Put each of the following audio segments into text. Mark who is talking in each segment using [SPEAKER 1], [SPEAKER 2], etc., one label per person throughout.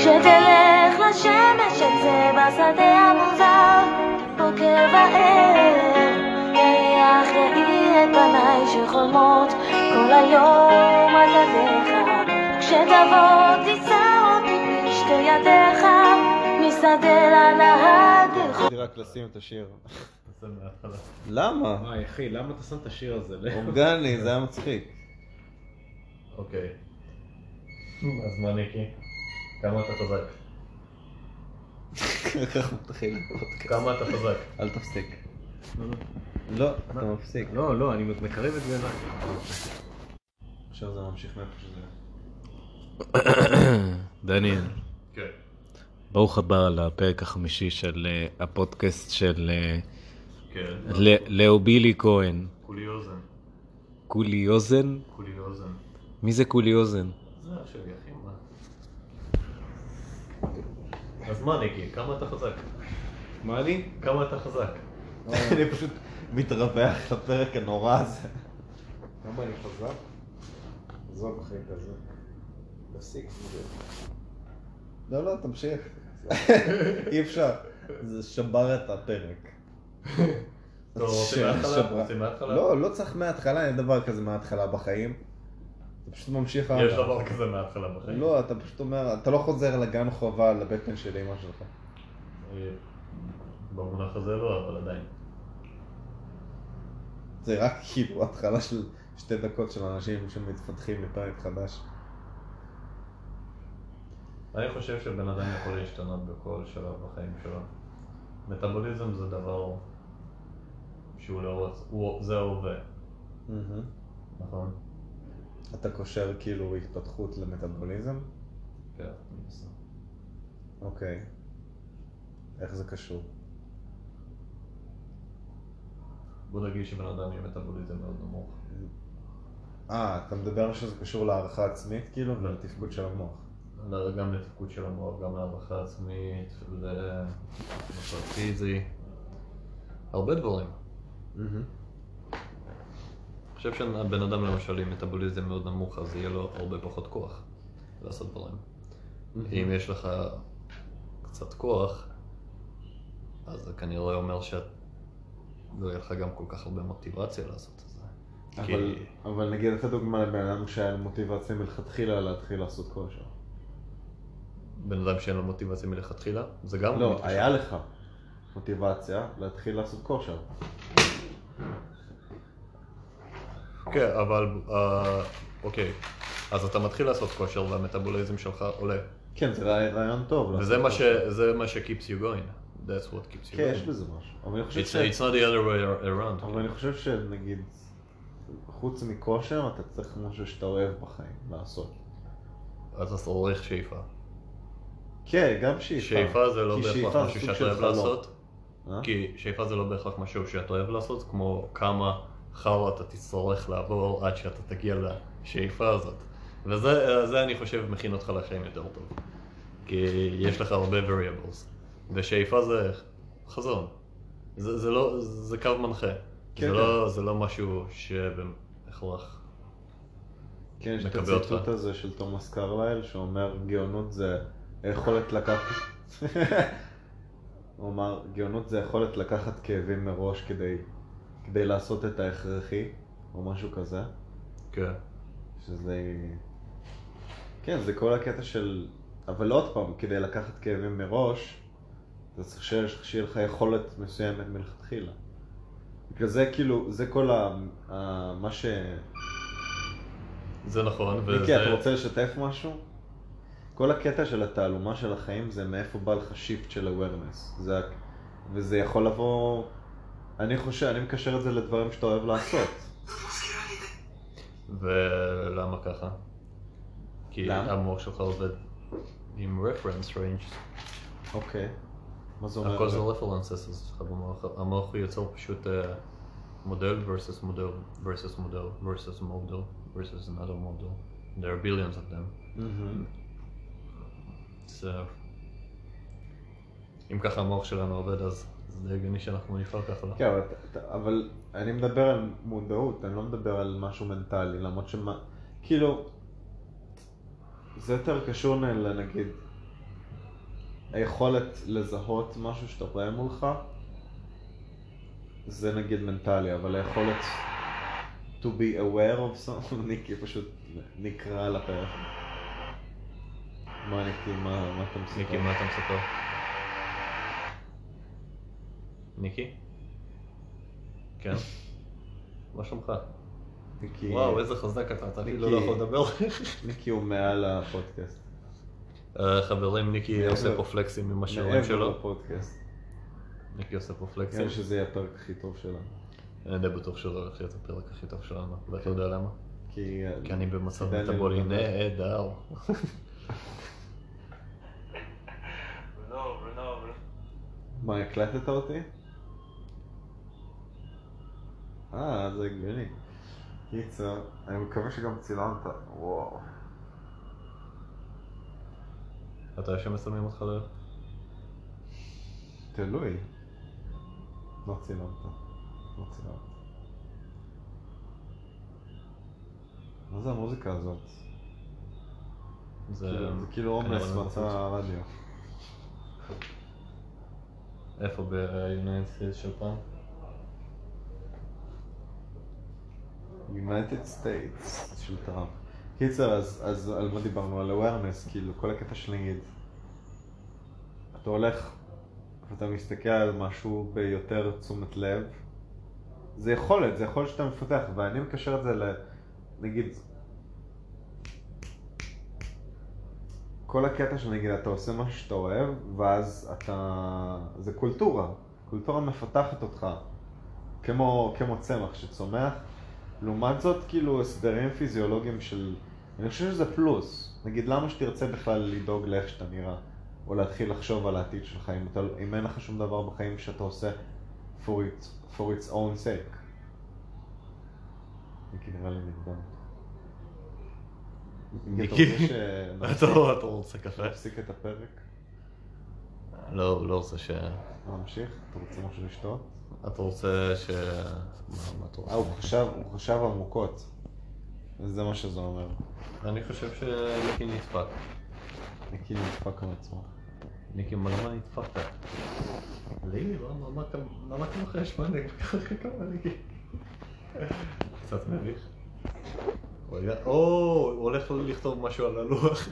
[SPEAKER 1] שתלך לשמש אצא בשדה המוזר, בוקר וערב, יריח יאיר את פניי שחולמות כל היום על ידיך. כשתבוא תישא אותי בשתי ידיך, משדה לנהר תלכו.
[SPEAKER 2] רציתי רק לשים את השיר. למה?
[SPEAKER 3] וואי אה, אחי, למה אתה שם את השיר הזה?
[SPEAKER 2] אורגני, זה היה מצחיק.
[SPEAKER 3] אוקיי. אז מה ניקי? כמה אתה חזק?
[SPEAKER 2] ככה מתחיל הפודקאסט.
[SPEAKER 3] כמה אתה חזק?
[SPEAKER 2] אל תפסיק. לא, אתה מפסיק.
[SPEAKER 3] לא, לא, אני מקרב את זה אליי.
[SPEAKER 2] עכשיו זה ממשיך מאיפה שזה...
[SPEAKER 4] דניאל,
[SPEAKER 3] כן.
[SPEAKER 4] ברוך הבא לפרק החמישי של אה, הפודקאסט של אה,
[SPEAKER 3] כן.
[SPEAKER 4] ל- לאו בילי כהן.
[SPEAKER 3] כולי אוזן.
[SPEAKER 4] קולי אוזן?
[SPEAKER 3] כולי אוזן.
[SPEAKER 4] מי זה קולי אוזן?
[SPEAKER 3] זה אח שלי אחי, מה? אז מה ניקי? כמה אתה חזק?
[SPEAKER 4] מה אני?
[SPEAKER 3] כמה אתה חזק?
[SPEAKER 2] אני פשוט מתרווח לפרק הנורא הזה.
[SPEAKER 5] למה אני חזק? עזוב אחי כזה. תפסיק עם זה.
[SPEAKER 2] לא, לא, תמשיך. אי אפשר. זה שבר את הפרק.
[SPEAKER 3] טוב, רוצים
[SPEAKER 2] שברה.
[SPEAKER 3] מההתחלה? רוצים מההתחלה?
[SPEAKER 2] לא, לא צריך מההתחלה, אין דבר כזה מההתחלה בחיים. אתה פשוט ממשיך
[SPEAKER 3] יש דבר כזה מההתחלה בחיים.
[SPEAKER 2] לא, אתה פשוט אומר, אתה לא חוזר לגן חובה, לבטן של אמא שלך.
[SPEAKER 3] אה, במונח הזה לא, אבל עדיין.
[SPEAKER 2] זה רק כאילו התחלה של שתי דקות של אנשים שמתפתחים לפרק חדש.
[SPEAKER 3] אני חושב שבן אדם יכול להשתנות בכל שלב בחיים שלו. מטאבוליזם זה דבר שהוא לא רוצה, הוא- זה ההווה, נכון?
[SPEAKER 2] Mm-hmm. אתה קושר כאילו התפתחות למטאבוליזם?
[SPEAKER 3] כן, אני מסכים.
[SPEAKER 2] אוקיי. איך זה קשור?
[SPEAKER 3] בוא נגיד שבן אדם עם מטאבוליזם מאוד נמוך.
[SPEAKER 2] אה, אתה מדבר שזה קשור להערכה עצמית כאילו ולתפקוד של המוח.
[SPEAKER 3] לא, גם לתפקוד של המוח, גם להערכה עצמית, למצב פיזי, הרבה דברים. Mm-hmm. אני חושב שהבן אדם למשל עם מטאבוליזם מאוד נמוך, אז יהיה לו הרבה פחות כוח לעשות דברים.
[SPEAKER 2] Mm-hmm.
[SPEAKER 3] אם יש לך קצת כוח, אז זה כנראה אומר שאת... לא יהיה לך גם כל כך הרבה מוטיבציה לעשות את זה.
[SPEAKER 2] אבל-
[SPEAKER 3] כי-
[SPEAKER 2] אבל נגיד, אתה דוגמה לבן אדם שהיה לו מוטיבציה מלכתחילה להתחיל לעשות כושר.
[SPEAKER 3] בן אדם שאין לו מוטיבציה מלכתחילה, זה גם
[SPEAKER 2] לא,
[SPEAKER 3] מתקשר.
[SPEAKER 2] היה לך מוטיבציה להתחיל לעשות כושר.
[SPEAKER 3] כן, אבל... אה, אוקיי. אז אתה מתחיל לעשות כושר והמטאבוליזם שלך עולה.
[SPEAKER 2] כן, זה רעי- רעיון טוב.
[SPEAKER 3] וזה
[SPEAKER 2] לעשות
[SPEAKER 3] מה ש...
[SPEAKER 2] כושר.
[SPEAKER 3] זה מה ש- keeps you going. That's what keeps you
[SPEAKER 2] כן, יש
[SPEAKER 3] going.
[SPEAKER 2] בזה משהו. אבל אני חושב
[SPEAKER 3] It's
[SPEAKER 2] ש...
[SPEAKER 3] it's not the other way around.
[SPEAKER 2] אבל אני חושב שנגיד, חוץ מכושר, אתה צריך משהו שאתה אוהב בחיים לעשות.
[SPEAKER 3] אז אתה עורך שאיפה.
[SPEAKER 2] כן, גם שאיפה.
[SPEAKER 3] שאיפה זה לא
[SPEAKER 2] כי
[SPEAKER 3] בהכרח
[SPEAKER 2] שאיפה זה סוג
[SPEAKER 3] משהו שאתה
[SPEAKER 2] של
[SPEAKER 3] אוהב
[SPEAKER 2] חלום.
[SPEAKER 3] לעשות.
[SPEAKER 2] אה?
[SPEAKER 3] כי שאיפה זה לא בהכרח משהו שאתה אוהב לעשות, כמו כמה חרא אתה תצטרך לעבור עד שאתה תגיע לשאיפה הזאת. וזה זה אני חושב מכין אותך לחיים יותר טוב. כי יש לך הרבה variables. ושאיפה זה חזון. זה, זה לא, זה קו מנחה.
[SPEAKER 2] כן,
[SPEAKER 3] זה, לא, זה לא משהו שבהכרח...
[SPEAKER 2] כן, יש את
[SPEAKER 3] מקבל אותך.
[SPEAKER 2] הציטוט הזה של תומאס קרלייל, שאומר גאונות זה היכולת לקחת... הוא אמר, גאונות זה היכולת לקחת כאבים מראש כדי, כדי לעשות את ההכרחי, או משהו כזה.
[SPEAKER 3] כן.
[SPEAKER 2] שזה... כן, זה כל הקטע של... אבל עוד פעם, כדי לקחת כאבים מראש, אתה צריך שיש- שיהיה לך יכולת מסוימת מלכתחילה. בגלל זה כאילו, זה כל ה... ה... מה ש...
[SPEAKER 3] זה נכון,
[SPEAKER 2] מיקי, אתה
[SPEAKER 3] וזה...
[SPEAKER 2] רוצה לשתף משהו? כל הקטע של התעלומה של החיים זה מאיפה בא לך שיפט של awareness. זה... ה- וזה יכול לבוא... אני חושב, אני מקשר את זה לדברים שאתה אוהב לעשות.
[SPEAKER 3] ולמה ככה? כי
[SPEAKER 2] למה?
[SPEAKER 3] המוח שלך עובד עם reference range.
[SPEAKER 2] אוקיי. מה זה אומר?
[SPEAKER 3] הכל זה רפרנסס אצלך במוח, המוח הוא יוצר פשוט אה, מודל versus מודל versus מודל versus מודל versus another מודל. There are billions of them.
[SPEAKER 2] מהמם.
[SPEAKER 3] So, אם ככה המוח שלנו עובד אז זה די הגיוני שאנחנו נפעל ככה. לא?
[SPEAKER 2] כן, אבל, אתה- אבל אני מדבר על מודעות, אני לא מדבר על משהו מנטלי, למרות שמה, כאילו, זה יותר קשור ל- לנגיד, היכולת לזהות משהו שאתה רואה מולך, זה נגיד מנטלי, אבל היכולת to be aware of something, ניקי פשוט נקרע לפרק. מה ניקי, מה, מה אתה מספר?
[SPEAKER 3] ניקי, מה אתה מספר? ניקי? כן? מה שלומך?
[SPEAKER 2] ניקי,
[SPEAKER 3] וואו, איזה חזק אתה, אתה אפילו לא
[SPEAKER 2] ניקי.
[SPEAKER 3] יכול לדבר.
[SPEAKER 2] ניקי הוא מעל הפודקאסט.
[SPEAKER 3] אה, חברים, ניקי
[SPEAKER 2] מעבר-
[SPEAKER 3] עושה פה פלקסים עם השיעורים
[SPEAKER 2] מעבר
[SPEAKER 3] שלו.
[SPEAKER 2] לפודקאסט.
[SPEAKER 3] ניקי עושה פה
[SPEAKER 2] נראה
[SPEAKER 3] פלקסים.
[SPEAKER 2] לי שזה יהיה הפרק הכי טוב שלנו.
[SPEAKER 3] אני די בטוח שזה הולך להיות הפרק הכי טוב שלנו, ואתה יודע למה?
[SPEAKER 2] כי...
[SPEAKER 3] כי אני במצב
[SPEAKER 2] כדאי לי
[SPEAKER 3] מטאבולי
[SPEAKER 2] לדבר.
[SPEAKER 3] נהדר.
[SPEAKER 6] לא, לא, לא.
[SPEAKER 2] מה, הקלטת אותי? אה, זה הגיוני. קיצר, אני מקווה שגם צילמת. וואו.
[SPEAKER 3] אתה יודע שמצלמים אותך לא?
[SPEAKER 2] תלוי. לא צילמת. לא צילמת. מה זה המוזיקה הזאת?
[SPEAKER 3] זה אמ, לא-
[SPEAKER 2] כאילו, זה כאילו
[SPEAKER 3] כנראה
[SPEAKER 2] עומס
[SPEAKER 3] מבחוץ.
[SPEAKER 2] מצא הרדיו.
[SPEAKER 3] איפה ב-United States של פעם?
[SPEAKER 2] United States של טראמפ. קיצר, אז, אז על מה דיברנו? על awareness, כאילו, כל הקטע של נגיד, אתה הולך ואתה מסתכל על משהו ביותר תשומת לב, זה יכולת, זה יכולת שאתה מפתח, ואני מקשר את זה ל... נגיד... כל הקטע של נגיד, אתה עושה משהו שאתה אוהב, ואז אתה... זה קולטורה. קולטורה מפתחת אותך. כמו, כמו צמח שצומח. לעומת זאת, כאילו, הסדרים פיזיולוגיים של... אני חושב שזה פלוס. נגיד, למה שתרצה בכלל לדאוג לאיך שאתה נראה? או להתחיל לחשוב על העתיד שלך, אם, אתה, אם אין לך שום דבר בחיים שאתה עושה for, it, for its own sake. ניקי נראה לי נקדם.
[SPEAKER 3] ניקי.
[SPEAKER 2] אתה רוצה
[SPEAKER 3] אתה לא- אתה רוצה ככה?
[SPEAKER 2] שנפסיק את הפרק?
[SPEAKER 3] לא, הוא לא רוצה ש...
[SPEAKER 2] להמשיך? אתה רוצה משהו לשתות?
[SPEAKER 3] אתה רוצה ש... מה, מה אתה
[SPEAKER 2] אה, הוא
[SPEAKER 3] רוצה?
[SPEAKER 2] חשב, הוא חשב עמוקות. זה מה שזה אומר.
[SPEAKER 3] אני חושב שניקי נדפק.
[SPEAKER 2] ניקי נדפק על עצמו.
[SPEAKER 3] ניקי, מה- למה נדפקת? לילי, למה למה לא, אתה למה אתה מחש? מה נגיד? כמה ניקי? קצת מביך. הוא היה- או, הוא הולך לכתוב משהו על הלוח.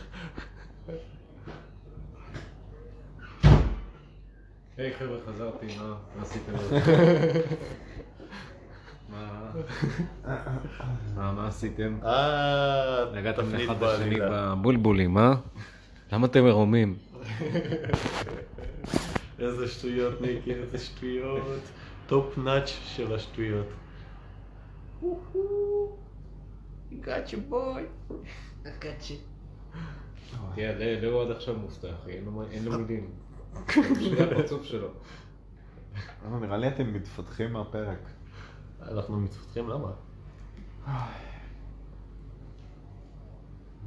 [SPEAKER 5] היי חבר'ה, חזרתי, מה מה עשיתם? מה- מה מה עשיתם?
[SPEAKER 3] אה,
[SPEAKER 4] נגעתם
[SPEAKER 3] תפנית
[SPEAKER 4] אחד בשני
[SPEAKER 3] בעלילה.
[SPEAKER 4] בבולבולים, אה? למה אתם מרומים?
[SPEAKER 3] איזה שטויות, ניקי, איזה שטויות. טופ נאץ' של השטויות.
[SPEAKER 5] תראה, לאו עד עכשיו מובטח, אין לו מה- אין לו מילים. בשביל הפרצוף שלו.
[SPEAKER 2] לא, נראה לי אתם מתפתחים מהפרק.
[SPEAKER 3] אנחנו מתפתחים, למה?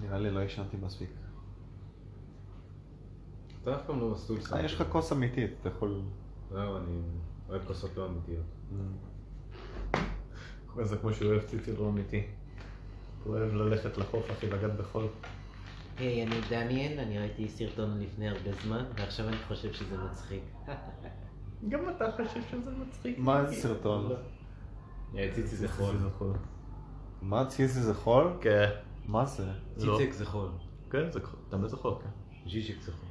[SPEAKER 2] נראה לי לא ישנתי מספיק.
[SPEAKER 5] אתה אף פעם לא מסלול
[SPEAKER 2] אה, יש לך כוס אמיתית, אתה יכול...
[SPEAKER 5] לא, אני אוהב כוסות לא אמיתיות.
[SPEAKER 3] זה כמו שהוא אוהב ציטילון איתי. הוא אוהב ללכת לחוף, אחי, לגעת בחול.
[SPEAKER 7] היי, אני דמיין, אני ראיתי סרטון לפני הרבה זמן, ועכשיו אני חושב שזה מצחיק.
[SPEAKER 3] גם אתה חושב שזה מצחיק.
[SPEAKER 2] מה זה סרטון?
[SPEAKER 5] אה, ציצי זה חול.
[SPEAKER 3] זה חול.
[SPEAKER 2] מה, ציזי זה חול?
[SPEAKER 3] כן.
[SPEAKER 2] מה זה?
[SPEAKER 3] לא.
[SPEAKER 5] ציציק זה חול.
[SPEAKER 3] כן, זה חול. תמיד זה חול, כן.
[SPEAKER 5] ז'יז'יק זה חול.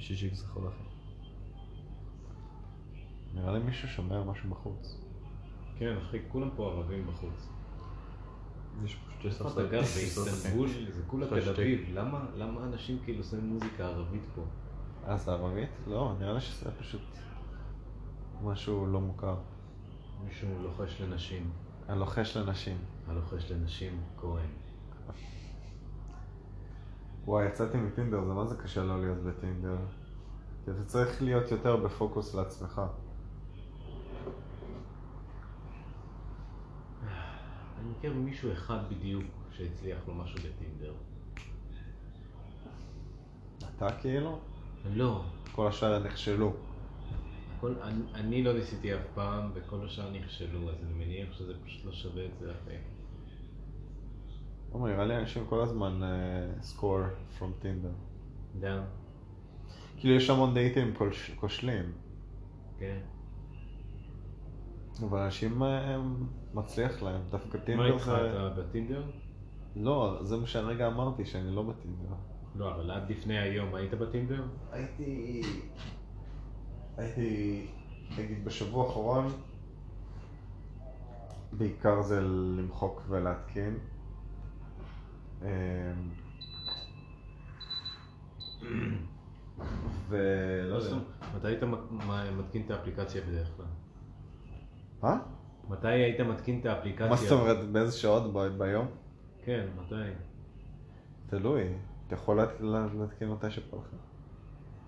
[SPEAKER 3] שישיק זה חול, אחי.
[SPEAKER 2] נראה לי מישהו שומע משהו בחוץ.
[SPEAKER 5] כן, אחי, כולם פה ערבים בחוץ.
[SPEAKER 3] יש פשוט יש
[SPEAKER 5] איפה אתה גר באיסטנבול? זה כולה
[SPEAKER 3] אחרי
[SPEAKER 5] תל
[SPEAKER 3] שתי-
[SPEAKER 5] אביב. למה למה אנשים כאילו שמים מוזיקה ערבית פה?
[SPEAKER 2] אה, זה ערבית? לא, נראה לי שזה פשוט משהו לא מוכר.
[SPEAKER 5] מישהו לוחש לנשים.
[SPEAKER 2] הלוחש לנשים.
[SPEAKER 5] הלוחש לנשים, כהן.
[SPEAKER 2] וואי, יצאתי מטינדר, זה מה זה קשה לא להיות בטינדר. כי אתה צריך להיות יותר בפוקוס לעצמך.
[SPEAKER 5] אני מכיר מישהו אחד בדיוק שהצליח לו משהו בטינדר.
[SPEAKER 2] אתה כאילו?
[SPEAKER 5] לא,
[SPEAKER 2] כל השאר נכשלו.
[SPEAKER 5] כל, אני, אני לא ניסיתי אף פעם, וכל השאר נכשלו, אז אני מניח שזה פשוט לא שווה את זה אחרי.
[SPEAKER 2] אה, לא, נראה לי אנשים כל הזמן סקור פרום טינדר.
[SPEAKER 5] גם.
[SPEAKER 2] כאילו יש המון דייטים כוש- כושלים,
[SPEAKER 5] כן.
[SPEAKER 2] אבל אנשים אה, הם מצליח להם, דווקא
[SPEAKER 5] מה
[SPEAKER 2] טינדר
[SPEAKER 5] איתך,
[SPEAKER 2] זה...
[SPEAKER 5] אתה בטינדר?
[SPEAKER 2] לא, זה מה שהרגע אמרתי, שאני לא בטינדר.
[SPEAKER 5] לא, אבל עד לפני היום היית בטינדר?
[SPEAKER 2] הייתי... הייתי... נגיד בשבוע האחרון, בעיקר זה למחוק ולהתקין. אמ, ולא
[SPEAKER 5] לא
[SPEAKER 2] יודע.
[SPEAKER 5] יודע. מתי היית מ- מ- מתקין את האפליקציה בדרך כלל?
[SPEAKER 2] מה?
[SPEAKER 5] מתי היית מתקין את האפליקציה?
[SPEAKER 2] מה זאת אומרת, באיזה שעות ב- ביום?
[SPEAKER 5] כן, מתי?
[SPEAKER 2] תלוי. אתה יכול לה- לה- להתקין מתי שבא לך.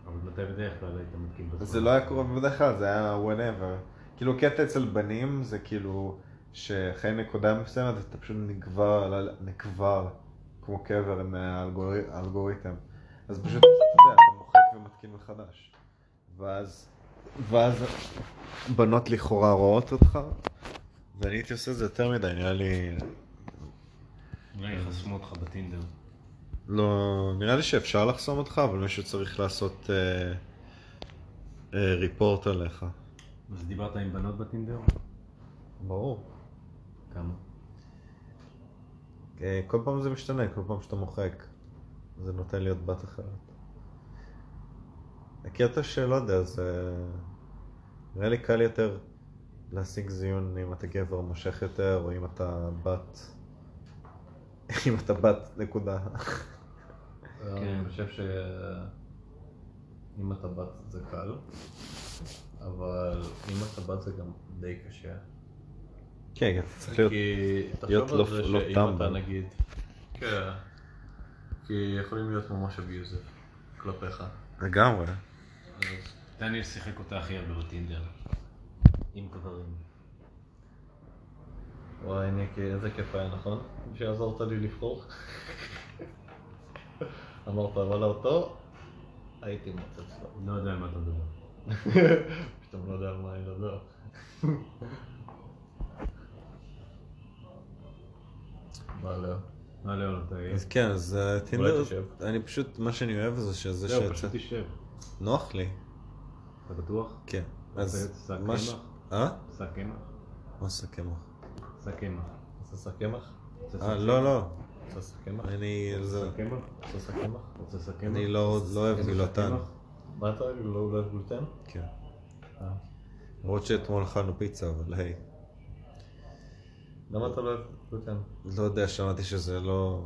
[SPEAKER 5] אבל מתי בדרך כלל היית מתקין בזמן?
[SPEAKER 2] זה לא היה קורה בדרך כלל, זה היה whenever. כאילו קטע אצל בנים זה כאילו שאחרי נקודה מסוימת אתה פשוט נגבר, על ה- נקבר כמו קבר מהאלגוריתם. אז פשוט, אתה יודע, אתה מוחק ומתקין מחדש. ואז, ואז בנות לכאורה רואות אותך, ואני הייתי עושה את זה יותר מדי, נראה לי...
[SPEAKER 5] אולי יחסמו אותך בטינדר.
[SPEAKER 2] לא, נראה לי שאפשר לחסום אותך, אבל מישהו צריך לעשות אה, אה, ריפורט עליך.
[SPEAKER 5] אז דיברת עם בנות בטינדר?
[SPEAKER 2] ברור.
[SPEAKER 5] כמה?
[SPEAKER 2] אה, כל פעם זה משתנה, כל פעם שאתה מוחק. זה נותן להיות בת אחרת. הקטע שלא לא יודע, זה... נראה לי קל יותר להשיג זיון אם אתה גבר מושך יותר, או אם אתה בת... אם אתה בת, נקודה.
[SPEAKER 3] אני חושב ש... אם אתה בת זה קל, אבל אם אתה בת זה גם די קשה.
[SPEAKER 2] כן, אתה צריך להיות...
[SPEAKER 3] כי
[SPEAKER 2] להיות
[SPEAKER 3] תחשוב על
[SPEAKER 2] לא-
[SPEAKER 3] זה
[SPEAKER 2] לא
[SPEAKER 3] שאם
[SPEAKER 2] טמבל.
[SPEAKER 3] אתה נגיד... כן. כי יכולים להיות ממש אביוזר כלפיך.
[SPEAKER 2] לגמרי.
[SPEAKER 3] אז
[SPEAKER 5] דניאל שיחק אותה הכי הרבה בטינדר. עם גברים.
[SPEAKER 3] וואי, ניקי, איזה כיף היה, נכון? שעזרת לי לבחור. אמרת, וואלה אותו, הייתי מוצץ לו.
[SPEAKER 5] לא יודע על מה אתה מדבר.
[SPEAKER 3] פתאום לא יודע על מה אני מדבר. מה לא?
[SPEAKER 5] מה לאון, אתה...
[SPEAKER 2] אז כן, אז אה,
[SPEAKER 3] אולי
[SPEAKER 2] טינדר,
[SPEAKER 3] תשב.
[SPEAKER 2] אני פשוט, מה שאני אוהב זה שזה
[SPEAKER 5] זהו,
[SPEAKER 2] שיצא...
[SPEAKER 5] לא, פשוט תשב.
[SPEAKER 2] נוח לי.
[SPEAKER 5] אתה בטוח?
[SPEAKER 2] כן.
[SPEAKER 5] זה
[SPEAKER 2] אז...
[SPEAKER 5] שק
[SPEAKER 2] מה ש-
[SPEAKER 5] קמח?
[SPEAKER 2] אה?
[SPEAKER 5] שק קמח?
[SPEAKER 2] מה שק קמח?
[SPEAKER 5] שק קמח.
[SPEAKER 3] רוצה שק קמח?
[SPEAKER 5] רוצה
[SPEAKER 2] אה,
[SPEAKER 5] שק
[SPEAKER 2] לא,
[SPEAKER 5] קמח?
[SPEAKER 2] לא.
[SPEAKER 3] רוצה שק קמח?
[SPEAKER 2] אני... זה...
[SPEAKER 5] שק קמח?
[SPEAKER 3] רוצה שק קמח?
[SPEAKER 5] רוצה שק קמח?
[SPEAKER 2] אני לא לא אוהב גילותן.
[SPEAKER 5] קמח?
[SPEAKER 3] מה אתה, לא אולי גלוטן?
[SPEAKER 2] כן.
[SPEAKER 3] אה.
[SPEAKER 2] למרות שאתמול אכלנו פיצה, אבל היי.
[SPEAKER 3] למה אתה לא אוהב גלוטן?
[SPEAKER 2] לא יודע, שמעתי שזה לא...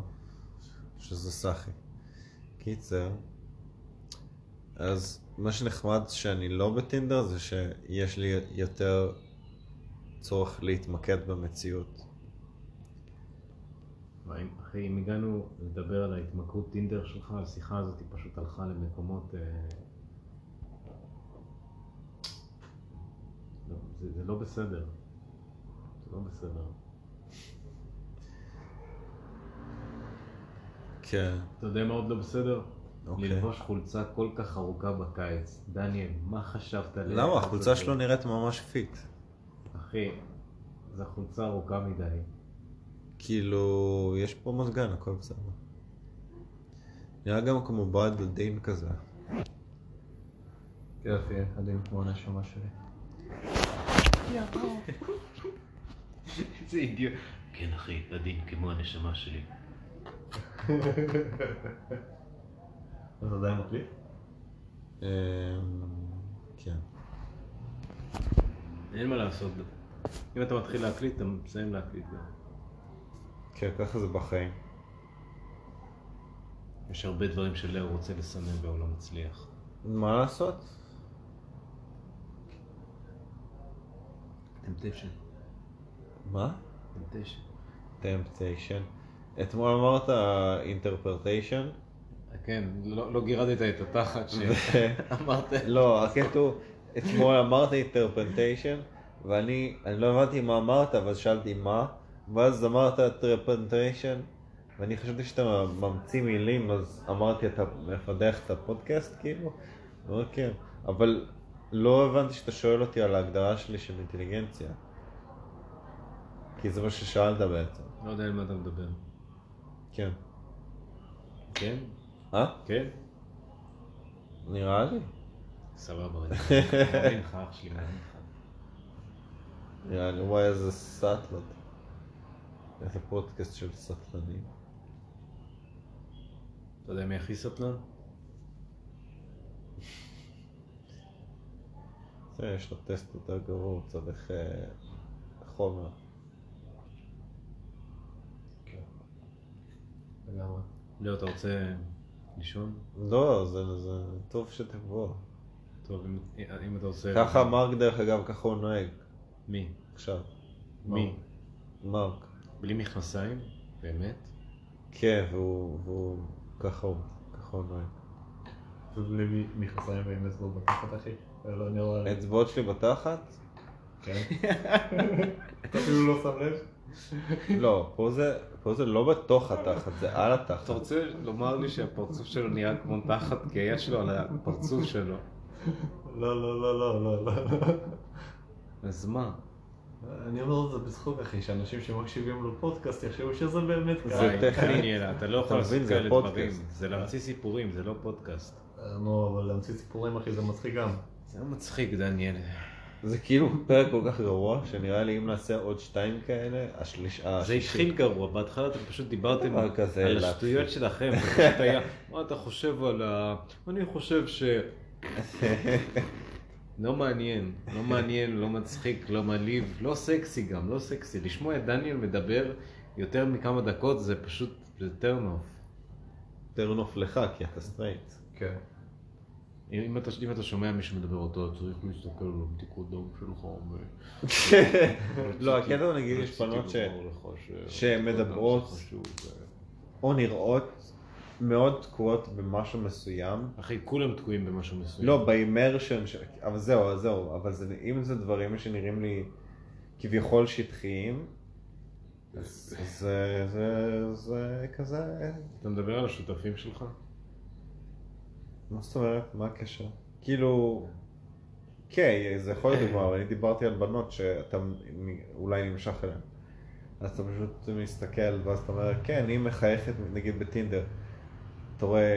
[SPEAKER 2] שזה סאחי. קיצר, אז מה שנחמד שאני לא בטינדר זה שיש לי יותר צורך להתמקד במציאות.
[SPEAKER 5] וואי, אחי, אם הגענו לדבר על ההתמכרות טינדר שלך, השיחה הזאת היא פשוט הלכה למקומות... אה, לא, זה, זה לא בסדר. זה לא בסדר.
[SPEAKER 2] כן,
[SPEAKER 5] אתה יודע מה עוד לא בסדר?
[SPEAKER 2] אוקיי.
[SPEAKER 5] ללבוש חולצה כל כך ארוכה בקיץ. דניאל, מה חשבת עליה?
[SPEAKER 2] למה? החולצה שלו נראית ממש פיט.
[SPEAKER 5] אחי, זו חולצה ארוכה מדי.
[SPEAKER 2] כאילו, יש פה מזגן, הכל בסדר. נראה גם כמו ברד דין כזה.
[SPEAKER 3] יופי, עדיין כמו הנשמה שלי.
[SPEAKER 5] איזה אידיוט. כן, אחי, עדין כמו הנשמה שלי.
[SPEAKER 3] אתה עדיין מקליט?
[SPEAKER 2] אמ, כן.
[SPEAKER 5] אין מה לעשות. אם אתה מתחיל להקליט, אתה מסיים להקליט גם.
[SPEAKER 2] כן, ככה זה בחיים.
[SPEAKER 5] יש הרבה דברים שלאו רוצה לסמן והוא לא מצליח.
[SPEAKER 2] מה לעשות?
[SPEAKER 5] טמפטיישן.
[SPEAKER 2] מה?
[SPEAKER 5] טמפטיישן.
[SPEAKER 2] טמפטיישן. אתמול אמרת אינטרפרטיישן.
[SPEAKER 5] כן, לא לא גירדת את התחת
[SPEAKER 2] כן.
[SPEAKER 5] שאמרת.
[SPEAKER 2] לא, הקטע הוא, אתמול אמרת אינטרפרטיישן, ואני אני לא הבנתי מה אמרת, אבל שאלתי מה, ואז אמרת טרפנטיישן, ואני חשבתי שאתה ממציא מילים, אז אמרתי, אתה מפדח את הפודקאסט, כאילו? הוא אומר, כן. אבל לא הבנתי שאתה שואל אותי על ההגדרה שלי של אינטליגנציה. כי זה מה ששאלת בעצם.
[SPEAKER 5] לא יודע על מה אתה מדבר.
[SPEAKER 2] כן.
[SPEAKER 5] כן?
[SPEAKER 2] אה?
[SPEAKER 5] כן?
[SPEAKER 2] נראה לי.
[SPEAKER 5] סבבה, רגע. אני מאמין לך, אח שלי מאמין לך.
[SPEAKER 2] נראה לי, וואי, איזה סאטלות. איזה פודקאסט של סטלנים.
[SPEAKER 5] אתה יודע מי הכי סטלן?
[SPEAKER 2] זה, יש לו טסט יותר גרוע, הוא צריך אה, חומר.
[SPEAKER 5] לגמרי. לא, אתה רוצה לישון?
[SPEAKER 2] לא, זה, זה טוב שתבוא.
[SPEAKER 5] טוב, אם- אם אתה רוצה...
[SPEAKER 2] ככה מרק, דרך אגב, ככה הוא נוהג
[SPEAKER 5] מי?
[SPEAKER 2] עכשיו.
[SPEAKER 5] מי?
[SPEAKER 2] מרק.
[SPEAKER 5] בלי מכנסיים? באמת?
[SPEAKER 2] כן, והוא, והוא, ככה הוא, ככה הוא נוהג.
[SPEAKER 3] ובלי מ- מכנסיים ועם אצבעות בתחת, אחי. זה לא נראה לי.
[SPEAKER 2] האצבעות שלי בתחת?
[SPEAKER 3] כן. אתה אפילו לא שם לב?
[SPEAKER 2] לא, פה זה, פה זה לא בתוך התחת, זה על
[SPEAKER 5] אתה
[SPEAKER 2] התחת.
[SPEAKER 5] רוצה לומר לי שהפרצוף שלו נראה כמו תחת גאה שלו על הפרצוף שלו?
[SPEAKER 3] לא, לא, לא, לא, לא, לא.
[SPEAKER 5] אז מה?
[SPEAKER 3] אני אומר את זה בזכות, אחי, שאנשים שמקשיבים לפודקאסט יחשבו שזה באמת
[SPEAKER 5] זה
[SPEAKER 2] זה
[SPEAKER 3] קרה.
[SPEAKER 2] טכני.
[SPEAKER 5] טכני, אתה לא יכול
[SPEAKER 2] אתה
[SPEAKER 5] לעשות
[SPEAKER 2] מבין, זה
[SPEAKER 5] כאלה דברים.
[SPEAKER 2] פודקאסט.
[SPEAKER 5] זה להמציא סיפורים, זה לא פודקאסט.
[SPEAKER 3] אה, נו, אבל להמציא סיפורים, אחי, זה מצחיק גם.
[SPEAKER 5] זה היה מצחיק, דניאל.
[SPEAKER 2] זה כאילו פרק כל כך גרוע, שנראה לי אם נעשה עוד שתיים כאלה, השלישה,
[SPEAKER 5] זה התחיל גרוע, בהתחלה אתם פשוט דיברתם
[SPEAKER 2] דבר אה, כזה,
[SPEAKER 5] על
[SPEAKER 2] להפסיק.
[SPEAKER 5] השטויות שלכם, זה פשוט היה, מה אתה חושב על ה... אני חושב ש... לא מעניין, לא מעניין, לא מצחיק, לא מעליב, לא סקסי גם, לא סקסי. לשמוע את דניאל מדבר יותר מכמה דקות זה פשוט, זה טרנוף.
[SPEAKER 2] טרנוף לך, כי אתה סטרייט.
[SPEAKER 3] כן.
[SPEAKER 5] אם אם אתה, אם אתה שומע מישהו מדבר אותו, אתה צריך להסתכל על הבדיקות דם שלך. ו-
[SPEAKER 2] לא, הקטע הוא, נגיד, יש
[SPEAKER 5] רציתי
[SPEAKER 2] בנות ש-
[SPEAKER 5] לומר לך ש-
[SPEAKER 2] שמדברות.
[SPEAKER 5] זה חשוב, ו-
[SPEAKER 2] או נראות מאוד תקועות במשהו מסוים.
[SPEAKER 5] אחי, כולם תקועים במשהו מסוים.
[SPEAKER 2] לא, באימרשן, ש... אבל זהו, אז זהו, אבל זה, אם זה דברים שנראים לי כביכול שטחיים, אז אז זה, זה, זה כזה,
[SPEAKER 5] אתה מדבר על השותפים שלך?
[SPEAKER 2] מה זאת אומרת, מה הקשר? כאילו, כן, זה יכול להיות דוגמה, אבל אני דיברתי על בנות שאתה מ- אולי נמשך אליהן. אז אתה פשוט מסתכל, ואז אתה אומר, כן, היא מחייכת, נגיד בטינדר. אתה רואה,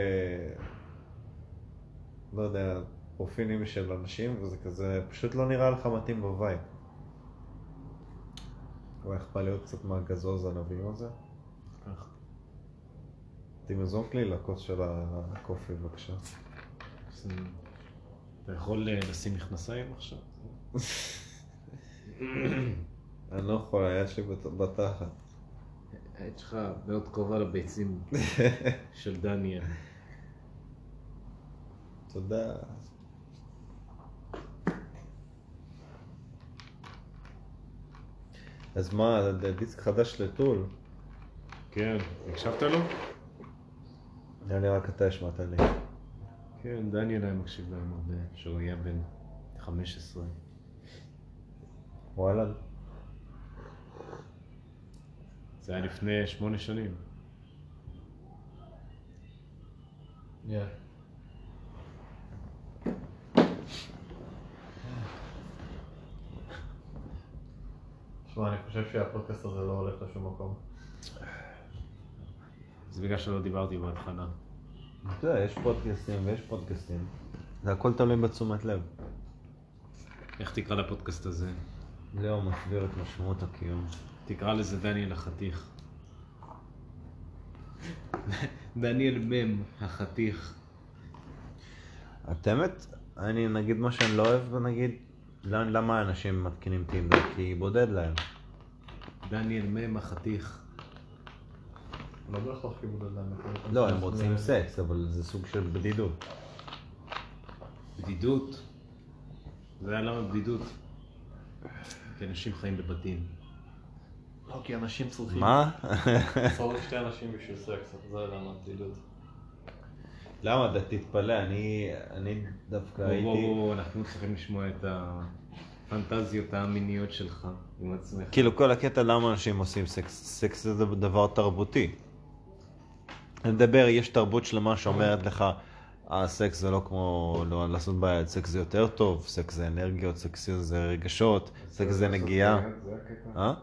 [SPEAKER 2] לא יודע, פרופילים של אנשים, וזה כזה, פשוט לא נראה לך מתאים בווייב. אבל איך בא להיות קצת מהגזוז הנביאים הזה? תמזוק לי לכוס של הקופי, בבקשה.
[SPEAKER 5] זה- אתה יכול אה, לשים מכנסיים עכשיו?
[SPEAKER 2] אני לא יכול, היד שלי בת- בתחת.
[SPEAKER 5] היית שלך מאוד קרובה לביצים של דניאל.
[SPEAKER 2] תודה. אז מה, זה דיסק חדש לטול?
[SPEAKER 5] כן, הקשבת לו?
[SPEAKER 2] נראה לי רק אתה השמעת לי.
[SPEAKER 5] כן, דניאל היה מקשיב להם הרבה, כשהוא היה בן 15.
[SPEAKER 2] וואלה.
[SPEAKER 5] זה היה לפני שמונה שנים.
[SPEAKER 3] שמע, אני חושב שהפודקאסט הזה לא הולך לשום מקום.
[SPEAKER 5] זה בגלל שלא דיברתי בהתחלה.
[SPEAKER 2] אתה יודע, יש פודקאסטים ויש פודקאסטים. זה הכל תלוי בתשומת לב.
[SPEAKER 5] איך תקרא לפודקאסט הזה?
[SPEAKER 2] ליאור מסביר את משמעות הקיום.
[SPEAKER 5] תקרא לזה דניאל החתיך. דניאל מם החתיך.
[SPEAKER 2] את האמת, אני נגיד מה שאני לא אוהב, נגיד, למ- למה אנשים מתקינים טינדר? כי בודד להם.
[SPEAKER 5] דניאל מם החתיך.
[SPEAKER 3] לא בהכרח כיבוד אדם.
[SPEAKER 2] לא, הם רוצים סקס, אבל זה סוג של בדידות.
[SPEAKER 5] בדידות. זה היה למה בדידות. כי אנשים חיים בבתים.
[SPEAKER 3] לא, כי אנשים צריכים...
[SPEAKER 2] מה?
[SPEAKER 3] צריך שתי אנשים בשביל סקס, זה למה תהילות.
[SPEAKER 2] למה? אתה תתפלא, אני, אני דווקא
[SPEAKER 5] בואו, בואו,
[SPEAKER 2] הייתי...
[SPEAKER 5] בואו, אנחנו צריכים לשמוע את הפנטזיות המיניות שלך עם עצמך.
[SPEAKER 2] כאילו כל הקטע למה אנשים עושים סקס, סקס זה דבר תרבותי. אני מדבר, יש תרבות שלמה שאומרת לך, הסקס זה לא כמו לא, לעשות בעיה, סקס זה יותר טוב, סקס זה אנרגיות, סקס זה רגשות, סקס זה נגיעה. אה?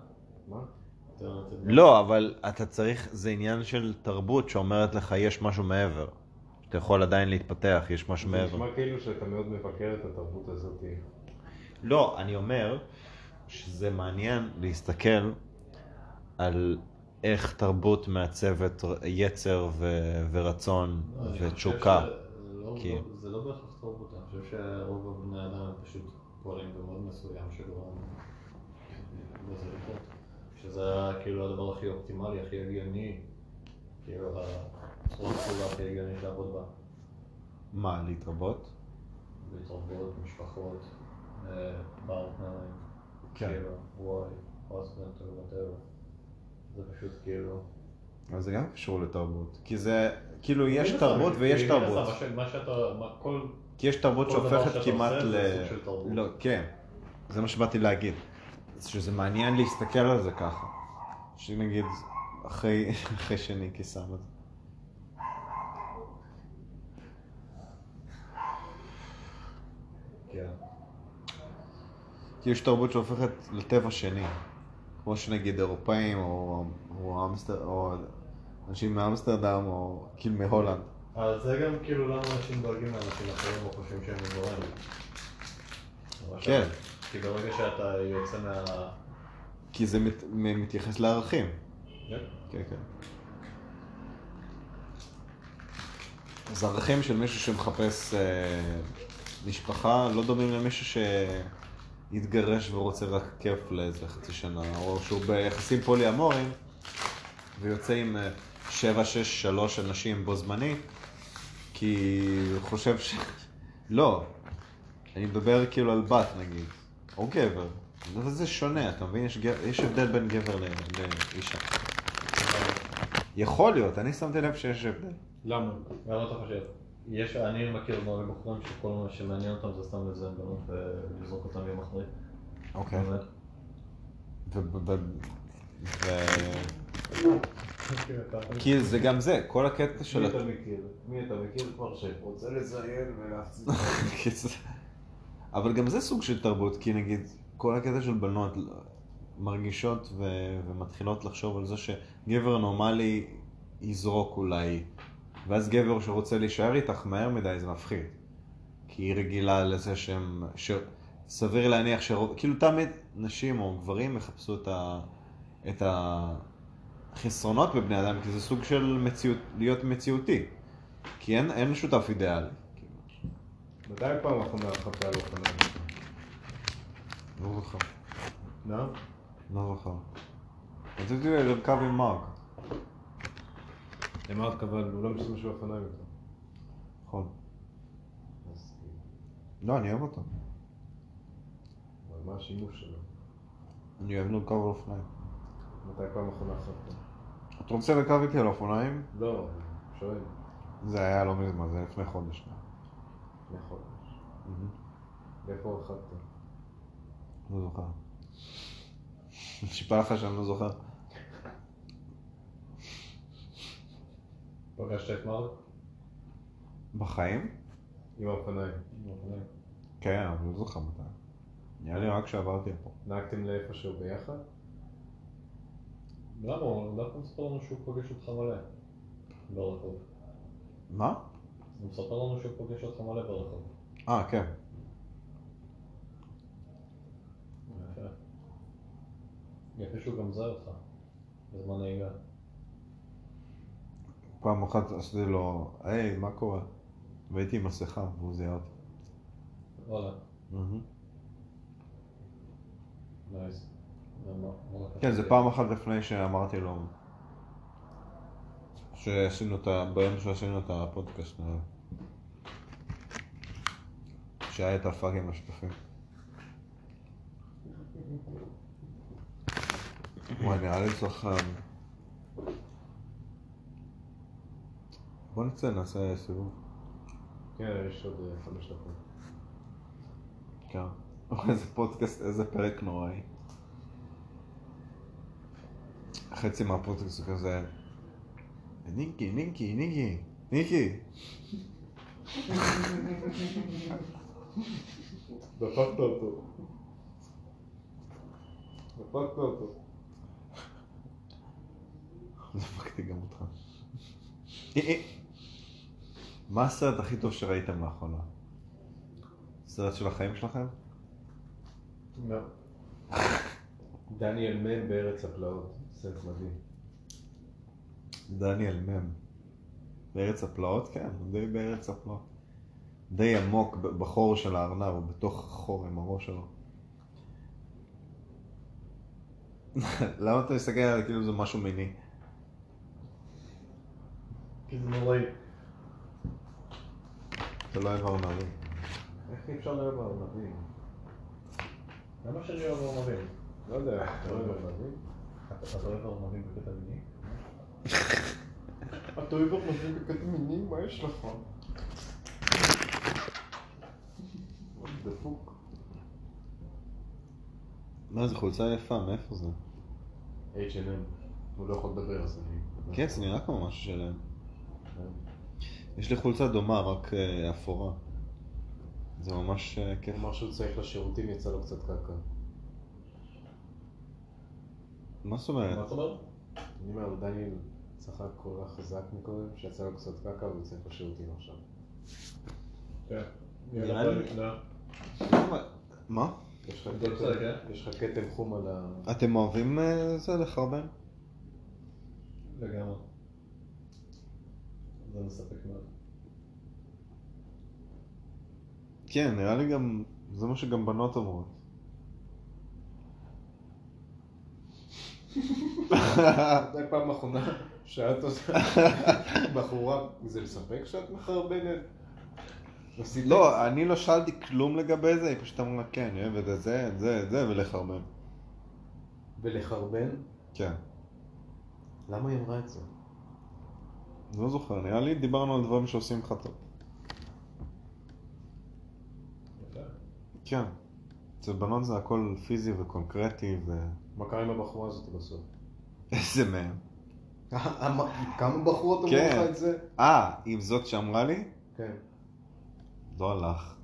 [SPEAKER 2] לא, אבל אתה צריך, זה עניין של תרבות שאומרת לך יש משהו מעבר. אתה יכול עדיין להתפתח, יש משהו
[SPEAKER 5] זה
[SPEAKER 2] מעבר.
[SPEAKER 5] נשמע כאילו שאתה מאוד מבקר את התרבות הזאת.
[SPEAKER 2] לא, אני אומר שזה מעניין להסתכל על איך תרבות מעצבת יצר ו- ורצון ותשוקה. כי-
[SPEAKER 3] זה לא בהכרח תרבות, אני חושב שרוב הבני אדם הם פשוט פועלים במאוד מסוים שגורם לזה לקרות. שזה כאילו הדבר הכי אופטימלי, הכי הגיוני, כאילו הצורה הפעולה הכי הגיונית לעבוד בה.
[SPEAKER 2] מה, להתרבות?
[SPEAKER 3] בהתרבות, משפחות, אה, פרטנרים,
[SPEAKER 2] כן.
[SPEAKER 3] כאילו, וואי, פרסטנט וואטאבר. זה פשוט כאילו...
[SPEAKER 2] אז זה גם קשור לתרבות. כי זה, כאילו, יש
[SPEAKER 3] מן הסתם,
[SPEAKER 2] תרבות ויש
[SPEAKER 3] מן הסתם,
[SPEAKER 2] תרבות.
[SPEAKER 3] מה ש- כאילו, מה שאתה, מה כל...
[SPEAKER 2] כי יש תרבות
[SPEAKER 3] כל דבר
[SPEAKER 2] שהופכת
[SPEAKER 3] שאתה
[SPEAKER 2] כמעט
[SPEAKER 3] עושה
[SPEAKER 2] ל...
[SPEAKER 3] זה סוג של תרבות.
[SPEAKER 2] לא, כן. זה מה שבאתי להגיד. אז שזה מעניין להסתכל על זה ככה. שנגיד, אחרי, אחרי שניקי שם את זה.
[SPEAKER 3] כן.
[SPEAKER 2] כי יש תרבות שהופכת לטבע שני. כמו שנגיד אירופאים, או, או, אמסטר, או אנשים מאמסטרדם, או כאילו מהולנד.
[SPEAKER 3] אז זה גם כאילו למה אנשים דואגים לאנשים אחרים או חושבים שהם מגורם.
[SPEAKER 2] כן.
[SPEAKER 3] כי ברגע שאתה יוצא מה...
[SPEAKER 2] כי זה מת, מ- מתייחס לערכים. כן, כן. אז ערכים של מישהו שמחפש אה, משפחה לא דומים למישהו שהתגרש ורוצה רק כיף לאיזה חצי שנה, או שהוא ביחסים פולי אמורים ויוצא עם אה, שבע, שש, שלוש אנשים בו זמנית, כי הוא חושב ש... לא, אני מדבר כאילו על בת נגיד, או גבר. אבל זה שונה, אתה מבין? יש, גבר, יש הבדל בין גבר ל- לאישה. יכול להיות, אני שמתי לב שיש הבדל.
[SPEAKER 5] למה?
[SPEAKER 3] למה לא אתה חושב? יש, אני מכיר מלא בחורים שכל מה שמעניין אותם זה סתם לזיין בנות אה, ולזרוק אותם יום אחרי.
[SPEAKER 2] אוקיי.
[SPEAKER 3] באמת.
[SPEAKER 2] ו... ו- ו- כי זה גם זה, כל הקטע של...
[SPEAKER 5] מי אתה מכיר? מי אתה מכיר כבר שרוצה לזיין ולהפסיד?
[SPEAKER 2] כי זה- אבל גם זה סוג של תרבות, כי נגיד, כל הקטע של בנות מרגישות ו... ומתחילות לחשוב על זה שגבר נורמלי יזרוק אולי, ואז גבר שרוצה להישאר איתך מהר מדי זה מפחיד. כי היא רגילה לזה שהם... ש... סביר להניח שרוב... כאילו תמיד נשים או גברים יחפשו את ה... את החסרונות בבני אדם, כי זה סוג של מציאות... להיות מציאותי. כי אין, אין שותף אידיאלי. כאילו.
[SPEAKER 5] מתי פעם אחרונה חפה על אופניים?
[SPEAKER 2] לא זוכר.
[SPEAKER 5] לא?
[SPEAKER 2] לא זוכר. רציתי לרכב עם מרק.
[SPEAKER 5] למה רק אבל הוא לא משתמש באופניים יותר.
[SPEAKER 2] נכון.
[SPEAKER 5] כאילו,
[SPEAKER 2] לא, אני אוהב אותו.
[SPEAKER 5] אבל מה השימוש שלו?
[SPEAKER 2] אני אוהב לרכב על אופניים.
[SPEAKER 5] מתי פעם אחרונה חפה?
[SPEAKER 2] אתה רוצה לרכב איתי על אופניים?
[SPEAKER 5] לא, שואל.
[SPEAKER 2] זה היה לא מזמן, זה לפני חודש.
[SPEAKER 5] לפני חודש. ואיפה אכלת?
[SPEAKER 2] לא זוכר. נשבע לך שאני לא זוכר.
[SPEAKER 3] פגשת את מרק?
[SPEAKER 2] בחיים?
[SPEAKER 5] עם האופניים.
[SPEAKER 2] כן, אבל לא זוכר מתי. נראה לי רק כשעברתי פה.
[SPEAKER 5] נהגתם לאיפשהו ביחד?
[SPEAKER 3] למה? הוא דווקא מספר לנו שהוא פוגש אותך מלא. ברחוב.
[SPEAKER 2] מה?
[SPEAKER 3] הוא מספר לנו שהוא פוגש אותך מלא ברחוב.
[SPEAKER 2] אה, כן.
[SPEAKER 3] יפה. יפה שהוא גם זר אותך. בזמן נהיגה.
[SPEAKER 2] פעם אחת עשיתי לו, היי, מה קורה? והייתי עם מסכה, והוא זיהה אותי.
[SPEAKER 3] וואלה.
[SPEAKER 2] מהמם.
[SPEAKER 3] נייס. למה? מה לקחת?
[SPEAKER 2] כן, זה פעם אחת לפני שאמרתי לו, שעשינו את ה... ביום שעשינו את הפודקאסט, אה, נראה. שהיה את הפאגים השותפים. וואי, נראה לי צריך... אה, בוא נצא, נעשה סיבוב.
[SPEAKER 5] כן, יש עוד אה, חמש דקות.
[SPEAKER 2] כן. איזה פודקאסט, איזה פרק נוראי. חצי מהפודקאסט הוא כזה, ניקי, ניקי, ניקי, ניקי.
[SPEAKER 5] דפקת אותו. דפקת אותו.
[SPEAKER 2] דפקתי גם אותך. אה, מה הסרט הכי טוב שראיתם לאחרונה? סרט של החיים שלכם?
[SPEAKER 5] לא. דניאל מן בארץ הפלאות, סרט מדהים.
[SPEAKER 2] דניאל מם. בארץ הפלאות? כן, הוא די בארץ הפלאות. די עמוק ב- בחור של הארנב, הוא בתוך החור עם הראש שלו. למה אתה מסתכל על זה כאילו זה משהו מיני?
[SPEAKER 3] כי זה נוראי.
[SPEAKER 2] אתה לא אוהב ארנבים.
[SPEAKER 5] איך אי אפשר לאהוב ארנבים?
[SPEAKER 3] למה שאני אוהב ארנבים?
[SPEAKER 5] לא יודע, אתה אוהב ארנבים?
[SPEAKER 3] אתה אוהב ארנבים בקטע מיני? אתה אוהב ארנבים בקטע מיני? מה יש לך?
[SPEAKER 5] דפוק.
[SPEAKER 2] מה, זו חולצה יפה, מאיפה זה?
[SPEAKER 5] H&M. הוא לא יכול לדבר אז אני...
[SPEAKER 2] כן, זה נראה כמו משהו שלהם. יש לי חולצה דומה, רק אה, אפורה. זה ממש אה, כיף.
[SPEAKER 5] הוא אמר שהוא צריך לשירותים, יצא לו קצת קעקע.
[SPEAKER 2] מה זאת אומרת?
[SPEAKER 3] אתה אומר?
[SPEAKER 5] אני אומר, דניאל צחק כל כך חזק מקודם, שיצא לו קצת קעקע והוא צריך לשירותים עכשיו.
[SPEAKER 3] כן.
[SPEAKER 2] נראה לי- מה?
[SPEAKER 5] יש לך
[SPEAKER 3] זה
[SPEAKER 5] כתם-
[SPEAKER 3] בסדר, כן?
[SPEAKER 5] יש לך כתם חום על ה...
[SPEAKER 2] אתם אוהבים אה, זה לחרבן?
[SPEAKER 3] לגמרי.
[SPEAKER 2] לא
[SPEAKER 3] זה מספק מאוד.
[SPEAKER 2] כן, נראה לי גם, זה מה שגם בנות אומרות.
[SPEAKER 5] אה, מתי פעם אחרונה שאלת אותה, בחורה, זה מספק שאת מחרבנת? עשית-
[SPEAKER 2] לא, אני לא שאלתי כלום לגבי זה, היא פשוט אמרה, כן, אני אוהבת את זה, את זה, את זה, ולחרבן.
[SPEAKER 5] ולחרבן?
[SPEAKER 2] כן.
[SPEAKER 5] למה היא אמרה את זה?
[SPEAKER 2] לא זוכר, נראה לי דיברנו על דברים שעושים לך טוב. כן. אצל בנות זה הכל פיזי וקונקרטי ו...
[SPEAKER 5] מה קרה עם הבחורה הזאת בסוף?
[SPEAKER 2] איזה מהם.
[SPEAKER 5] כמה בחורות אמרו
[SPEAKER 2] כן.
[SPEAKER 5] לך את זה?
[SPEAKER 2] אה, עם זאת שאמרה לי?
[SPEAKER 5] כן.
[SPEAKER 2] לא הלך.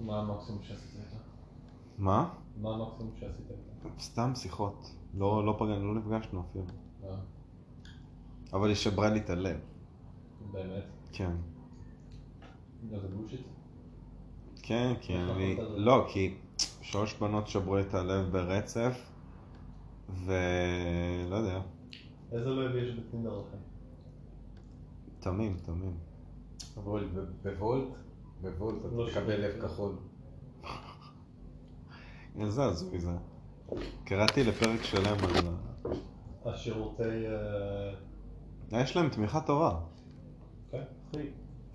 [SPEAKER 3] מה המקסימום שעשית איתה?
[SPEAKER 2] מה?
[SPEAKER 3] מה המקסימום שעשית איתה?
[SPEAKER 2] סתם שיחות. לא, לא פגענו, לא נפגשנו אפילו.
[SPEAKER 3] אה,
[SPEAKER 2] אבל היא שברה לי את הלב.
[SPEAKER 3] באמת?
[SPEAKER 2] כן.
[SPEAKER 3] זה בושיט?
[SPEAKER 2] כן, כי
[SPEAKER 3] איך
[SPEAKER 2] אני...
[SPEAKER 3] אמרת את זה?
[SPEAKER 2] לא, כי שלוש בנות שברו לי את הלב ברצף, ולא יודע,
[SPEAKER 3] איזה לב יש בטינדר לכם?
[SPEAKER 2] תמים, תמים.
[SPEAKER 5] אבל ב- בוולט? בוולט
[SPEAKER 3] לא
[SPEAKER 5] אתה תקבל
[SPEAKER 3] שומע.
[SPEAKER 5] לב כחול.
[SPEAKER 2] איזה הזוי זה. קראתי לפרק שלם על... ה-
[SPEAKER 3] השירותי... אה,
[SPEAKER 2] יש להם תמיכה טובה.
[SPEAKER 3] כן,
[SPEAKER 5] אחי,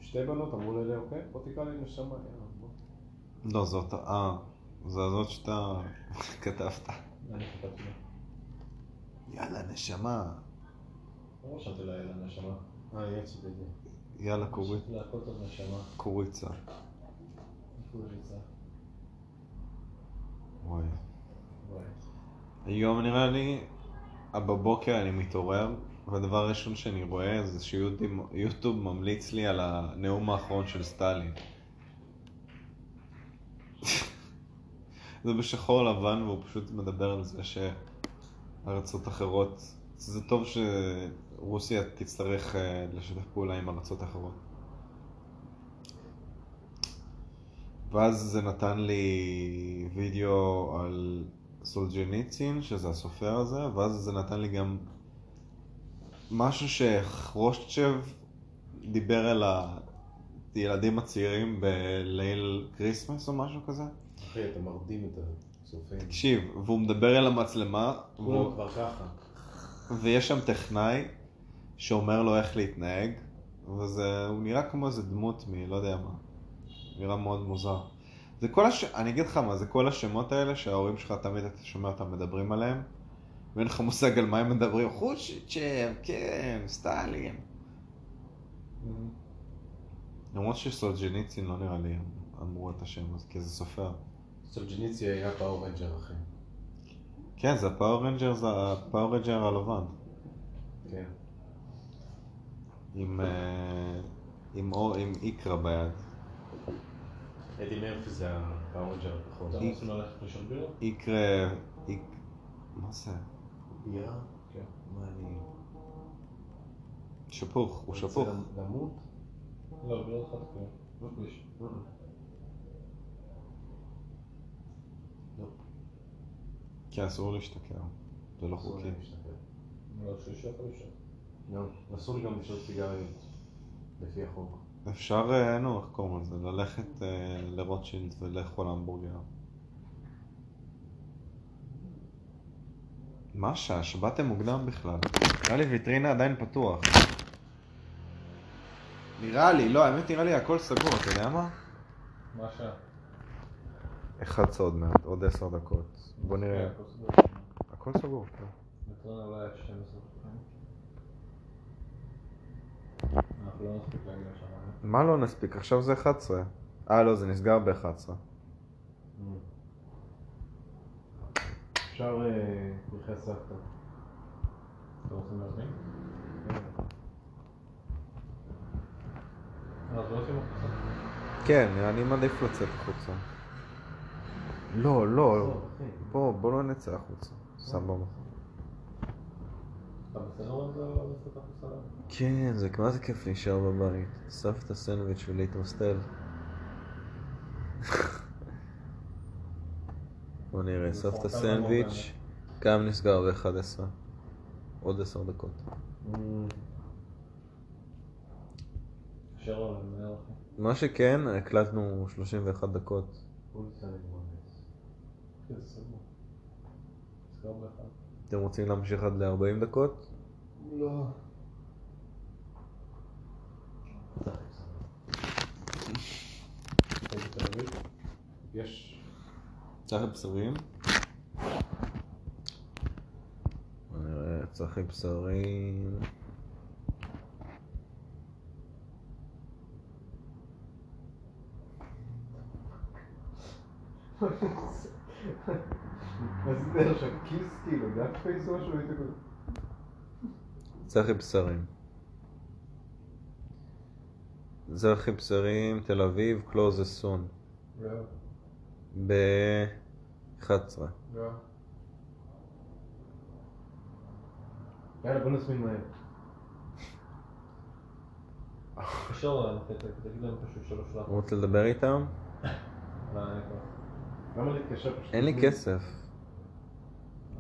[SPEAKER 5] שתי בנות אמרו לי, אוקיי, בוא תקרא לי נשמה, יאללה, בוא.
[SPEAKER 2] לא, זאת אה, זו הזאת שאתה כתבת.
[SPEAKER 3] אני כתבתי לה.
[SPEAKER 2] יאללה, נשמה.
[SPEAKER 3] לא רשמתי לה אלה נשמה.
[SPEAKER 5] אה, יצא בזה.
[SPEAKER 2] יאללה, קורית.
[SPEAKER 3] רשמתי לה הכל טוב נשמה.
[SPEAKER 2] קוריצה.
[SPEAKER 3] קוריצה.
[SPEAKER 2] וואי.
[SPEAKER 3] וואי.
[SPEAKER 2] היום נראה לי, בבוקר אני מתעורר, והדבר הראשון שאני רואה זה שיוטיוב ממליץ לי על הנאום האחרון של סטלין. זה בשחור לבן והוא פשוט מדבר על זה שארצות אחרות, זה טוב שרוסיה תצטרך אה, לשתף פעולה עם ארצות אחרות. ואז זה נתן לי וידאו על סולג'ניצין, שזה הסופר הזה, ואז זה נתן לי גם משהו שחרושצ'ב דיבר אל הילדים הצעירים בליל כריסמס או משהו כזה.
[SPEAKER 5] אחי, אתה מרדים את הצופים.
[SPEAKER 2] תקשיב, והוא מדבר אל המצלמה,
[SPEAKER 5] כולם
[SPEAKER 2] והוא...
[SPEAKER 5] כבר ככה.
[SPEAKER 2] ויש שם טכנאי שאומר לו איך להתנהג, וזה, הוא נראה כמו איזה דמות מלא יודע מה. נראה מאוד מוזר. זה כל הש... אני אגיד לך מה, זה כל השמות האלה שההורים שלך תמיד אתה שומע אותם מדברים עליהם, ואין לך מושג על מה הם מדברים. חושצ'ב, כן, סטלין. למרות שסולג'ניצין לא נראה לי אמרו את השם הזה, כי זה סופר.
[SPEAKER 5] סולג'ניצי היה פאור רנג'ר, אחי.
[SPEAKER 2] כן, זה הפאור רנג'ר, זה הפאור רנג'ר הלבן.
[SPEAKER 5] כן.
[SPEAKER 2] עם, אה, עם, אור- עם איקרה ביד.
[SPEAKER 5] אדי מרפי זה הפאור רנג'ר הכחול.
[SPEAKER 3] אתם רוצים ללכת לשון בירה?
[SPEAKER 2] איקרה... איק... מה זה?
[SPEAKER 5] בירה?
[SPEAKER 3] כן.
[SPEAKER 5] מה אני...
[SPEAKER 2] שפוך, הוא
[SPEAKER 6] רוצה
[SPEAKER 2] שפוך.
[SPEAKER 6] למות?
[SPEAKER 8] לא, בלי אותך תקוע.
[SPEAKER 6] אה,
[SPEAKER 2] כי אסור להשתכר.
[SPEAKER 6] אה,
[SPEAKER 2] זה לא חוקי.
[SPEAKER 8] לא, שישה חמישה.
[SPEAKER 6] לא, אסור לי גם לשתות סיגרים, לפי החוק.
[SPEAKER 2] אפשר, אה, אין לנו איך קוראים לזה, ללכת אה, לרוטשילד ולאכול המבורגר. מה השעה? באתם מוקדם בכלל. נראה לי ויטרינה עדיין פתוח. נראה לי, לא, האמת נראה לי הכל סגור, אתה יודע מה?
[SPEAKER 8] מה השעה?
[SPEAKER 2] אחד עוד מעט, עוד עשר דקות. בוא נראה.
[SPEAKER 8] הכל סגור.
[SPEAKER 2] הכל סגור, כן.
[SPEAKER 8] נתראה כן, אולי עד 12. אנחנו לא נספיק להגיע לשם. אבל.
[SPEAKER 2] מה לא נספיק? עכשיו זה 11. אה, לא, זה נסגר ב-11.
[SPEAKER 6] אפשר אה, פרחי סבתא.
[SPEAKER 8] אתם רוצים להזמין? אז לא עושים הפסקה.
[SPEAKER 2] כן, אני מעדיף לצאת החוצה. לא, לא, בוא, בוא לא נצא החוצה. סבבה.
[SPEAKER 8] אתה בסדר עם זה או לצאת החוצה?
[SPEAKER 2] כן, זה כמעט כיף להישאר בבית. אסף את הסנדוויץ' ולהתמסטל. בוא נראה, אסף את הסנדוויץ', גם נסגר ב-11. עוד עשר דקות.
[SPEAKER 6] אה.
[SPEAKER 8] אפשר לו למנהל אחי.
[SPEAKER 2] מה שכן, הקלטנו 31 דקות.
[SPEAKER 6] אולסה לגמונס.
[SPEAKER 8] כן, זה סגור. נסגר באחד.
[SPEAKER 2] אתם רוצים להמשיך עד ל-40 דקות?
[SPEAKER 8] לא.
[SPEAKER 6] יש.
[SPEAKER 2] צחי בשרים? בוא נראה, צחי בשרים.
[SPEAKER 6] אז זה עכשיו כיס כאילו, דף פייס או משהו, הייתי כותב.
[SPEAKER 2] צחי בשרים. צחי בשרים, תל אביב, קלוזה סון.
[SPEAKER 8] לא.
[SPEAKER 2] ב-11.
[SPEAKER 8] לא.
[SPEAKER 6] יאללה, בוא נזמין מהר.
[SPEAKER 8] אפשר לו ללכת, תגיד להם פשוט שלא שלח.
[SPEAKER 2] רוצה לדבר איתם?
[SPEAKER 8] לא, אין לי כוח.
[SPEAKER 6] למה להתקשר פשוט?
[SPEAKER 2] אין
[SPEAKER 5] Mm-hmm.
[SPEAKER 2] לי כסף.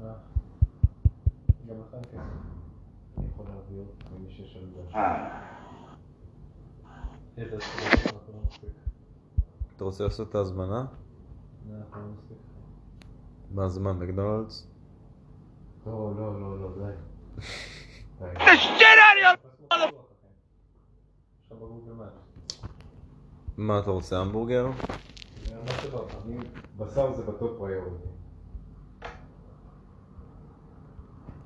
[SPEAKER 8] אה. גם לך אין כסף.
[SPEAKER 6] אני יכול להביא עוד למי שיש
[SPEAKER 2] אה.
[SPEAKER 6] על זה.
[SPEAKER 8] איזה סיבה שאנחנו לא נספיק.
[SPEAKER 2] אתה רוצה לעשות את ההזמנה?
[SPEAKER 8] לא, אנחנו לא נספיק.
[SPEAKER 2] מה זמן? מקדונלדס?
[SPEAKER 6] לא, לא, לא, לא, די. די.
[SPEAKER 8] לא עכשיו בגוגל מאפס.
[SPEAKER 2] מה אתה רוצה, המבורגר?
[SPEAKER 8] מה שבא לך.
[SPEAKER 6] אני- בשר זה בטופ היום.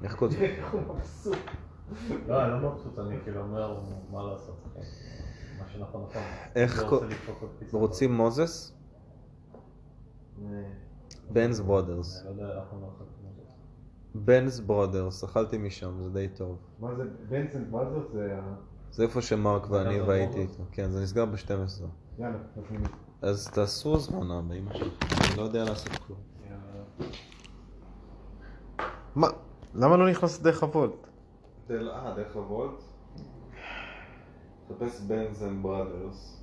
[SPEAKER 2] איך כותבים?
[SPEAKER 6] איך הוא מבסוט.
[SPEAKER 8] לא, אני לא מבסוט, אני כאילו אומר מה לעשות. מה שנכון נכון.
[SPEAKER 2] איך
[SPEAKER 8] לא
[SPEAKER 2] כל-
[SPEAKER 8] רוצה לדפוק עוד פיסה.
[SPEAKER 2] רוצים מוזס?
[SPEAKER 8] אה,
[SPEAKER 2] בנס ברודרס.
[SPEAKER 8] אני לא יודע, אנחנו לא יכולים לעשות את זה.
[SPEAKER 2] בנס ברודרס, אכלתי משם, זה די טוב.
[SPEAKER 6] מה זה, בנסנט מאזר זה ה...
[SPEAKER 2] זה איפה שמרק ואני
[SPEAKER 8] גם
[SPEAKER 2] והייתי
[SPEAKER 8] ברודרס?
[SPEAKER 2] איתו. כן, זה נסגר ב-12.
[SPEAKER 6] יאללה, נזמין.
[SPEAKER 2] אז תעשו הזמנה באמא שלי, אני לא יודע לעשות כלום.
[SPEAKER 5] מה? למה לא נכנס דרך הוולט?
[SPEAKER 2] אה, דרך הוולט? תחפש בנס אנד בראדרס.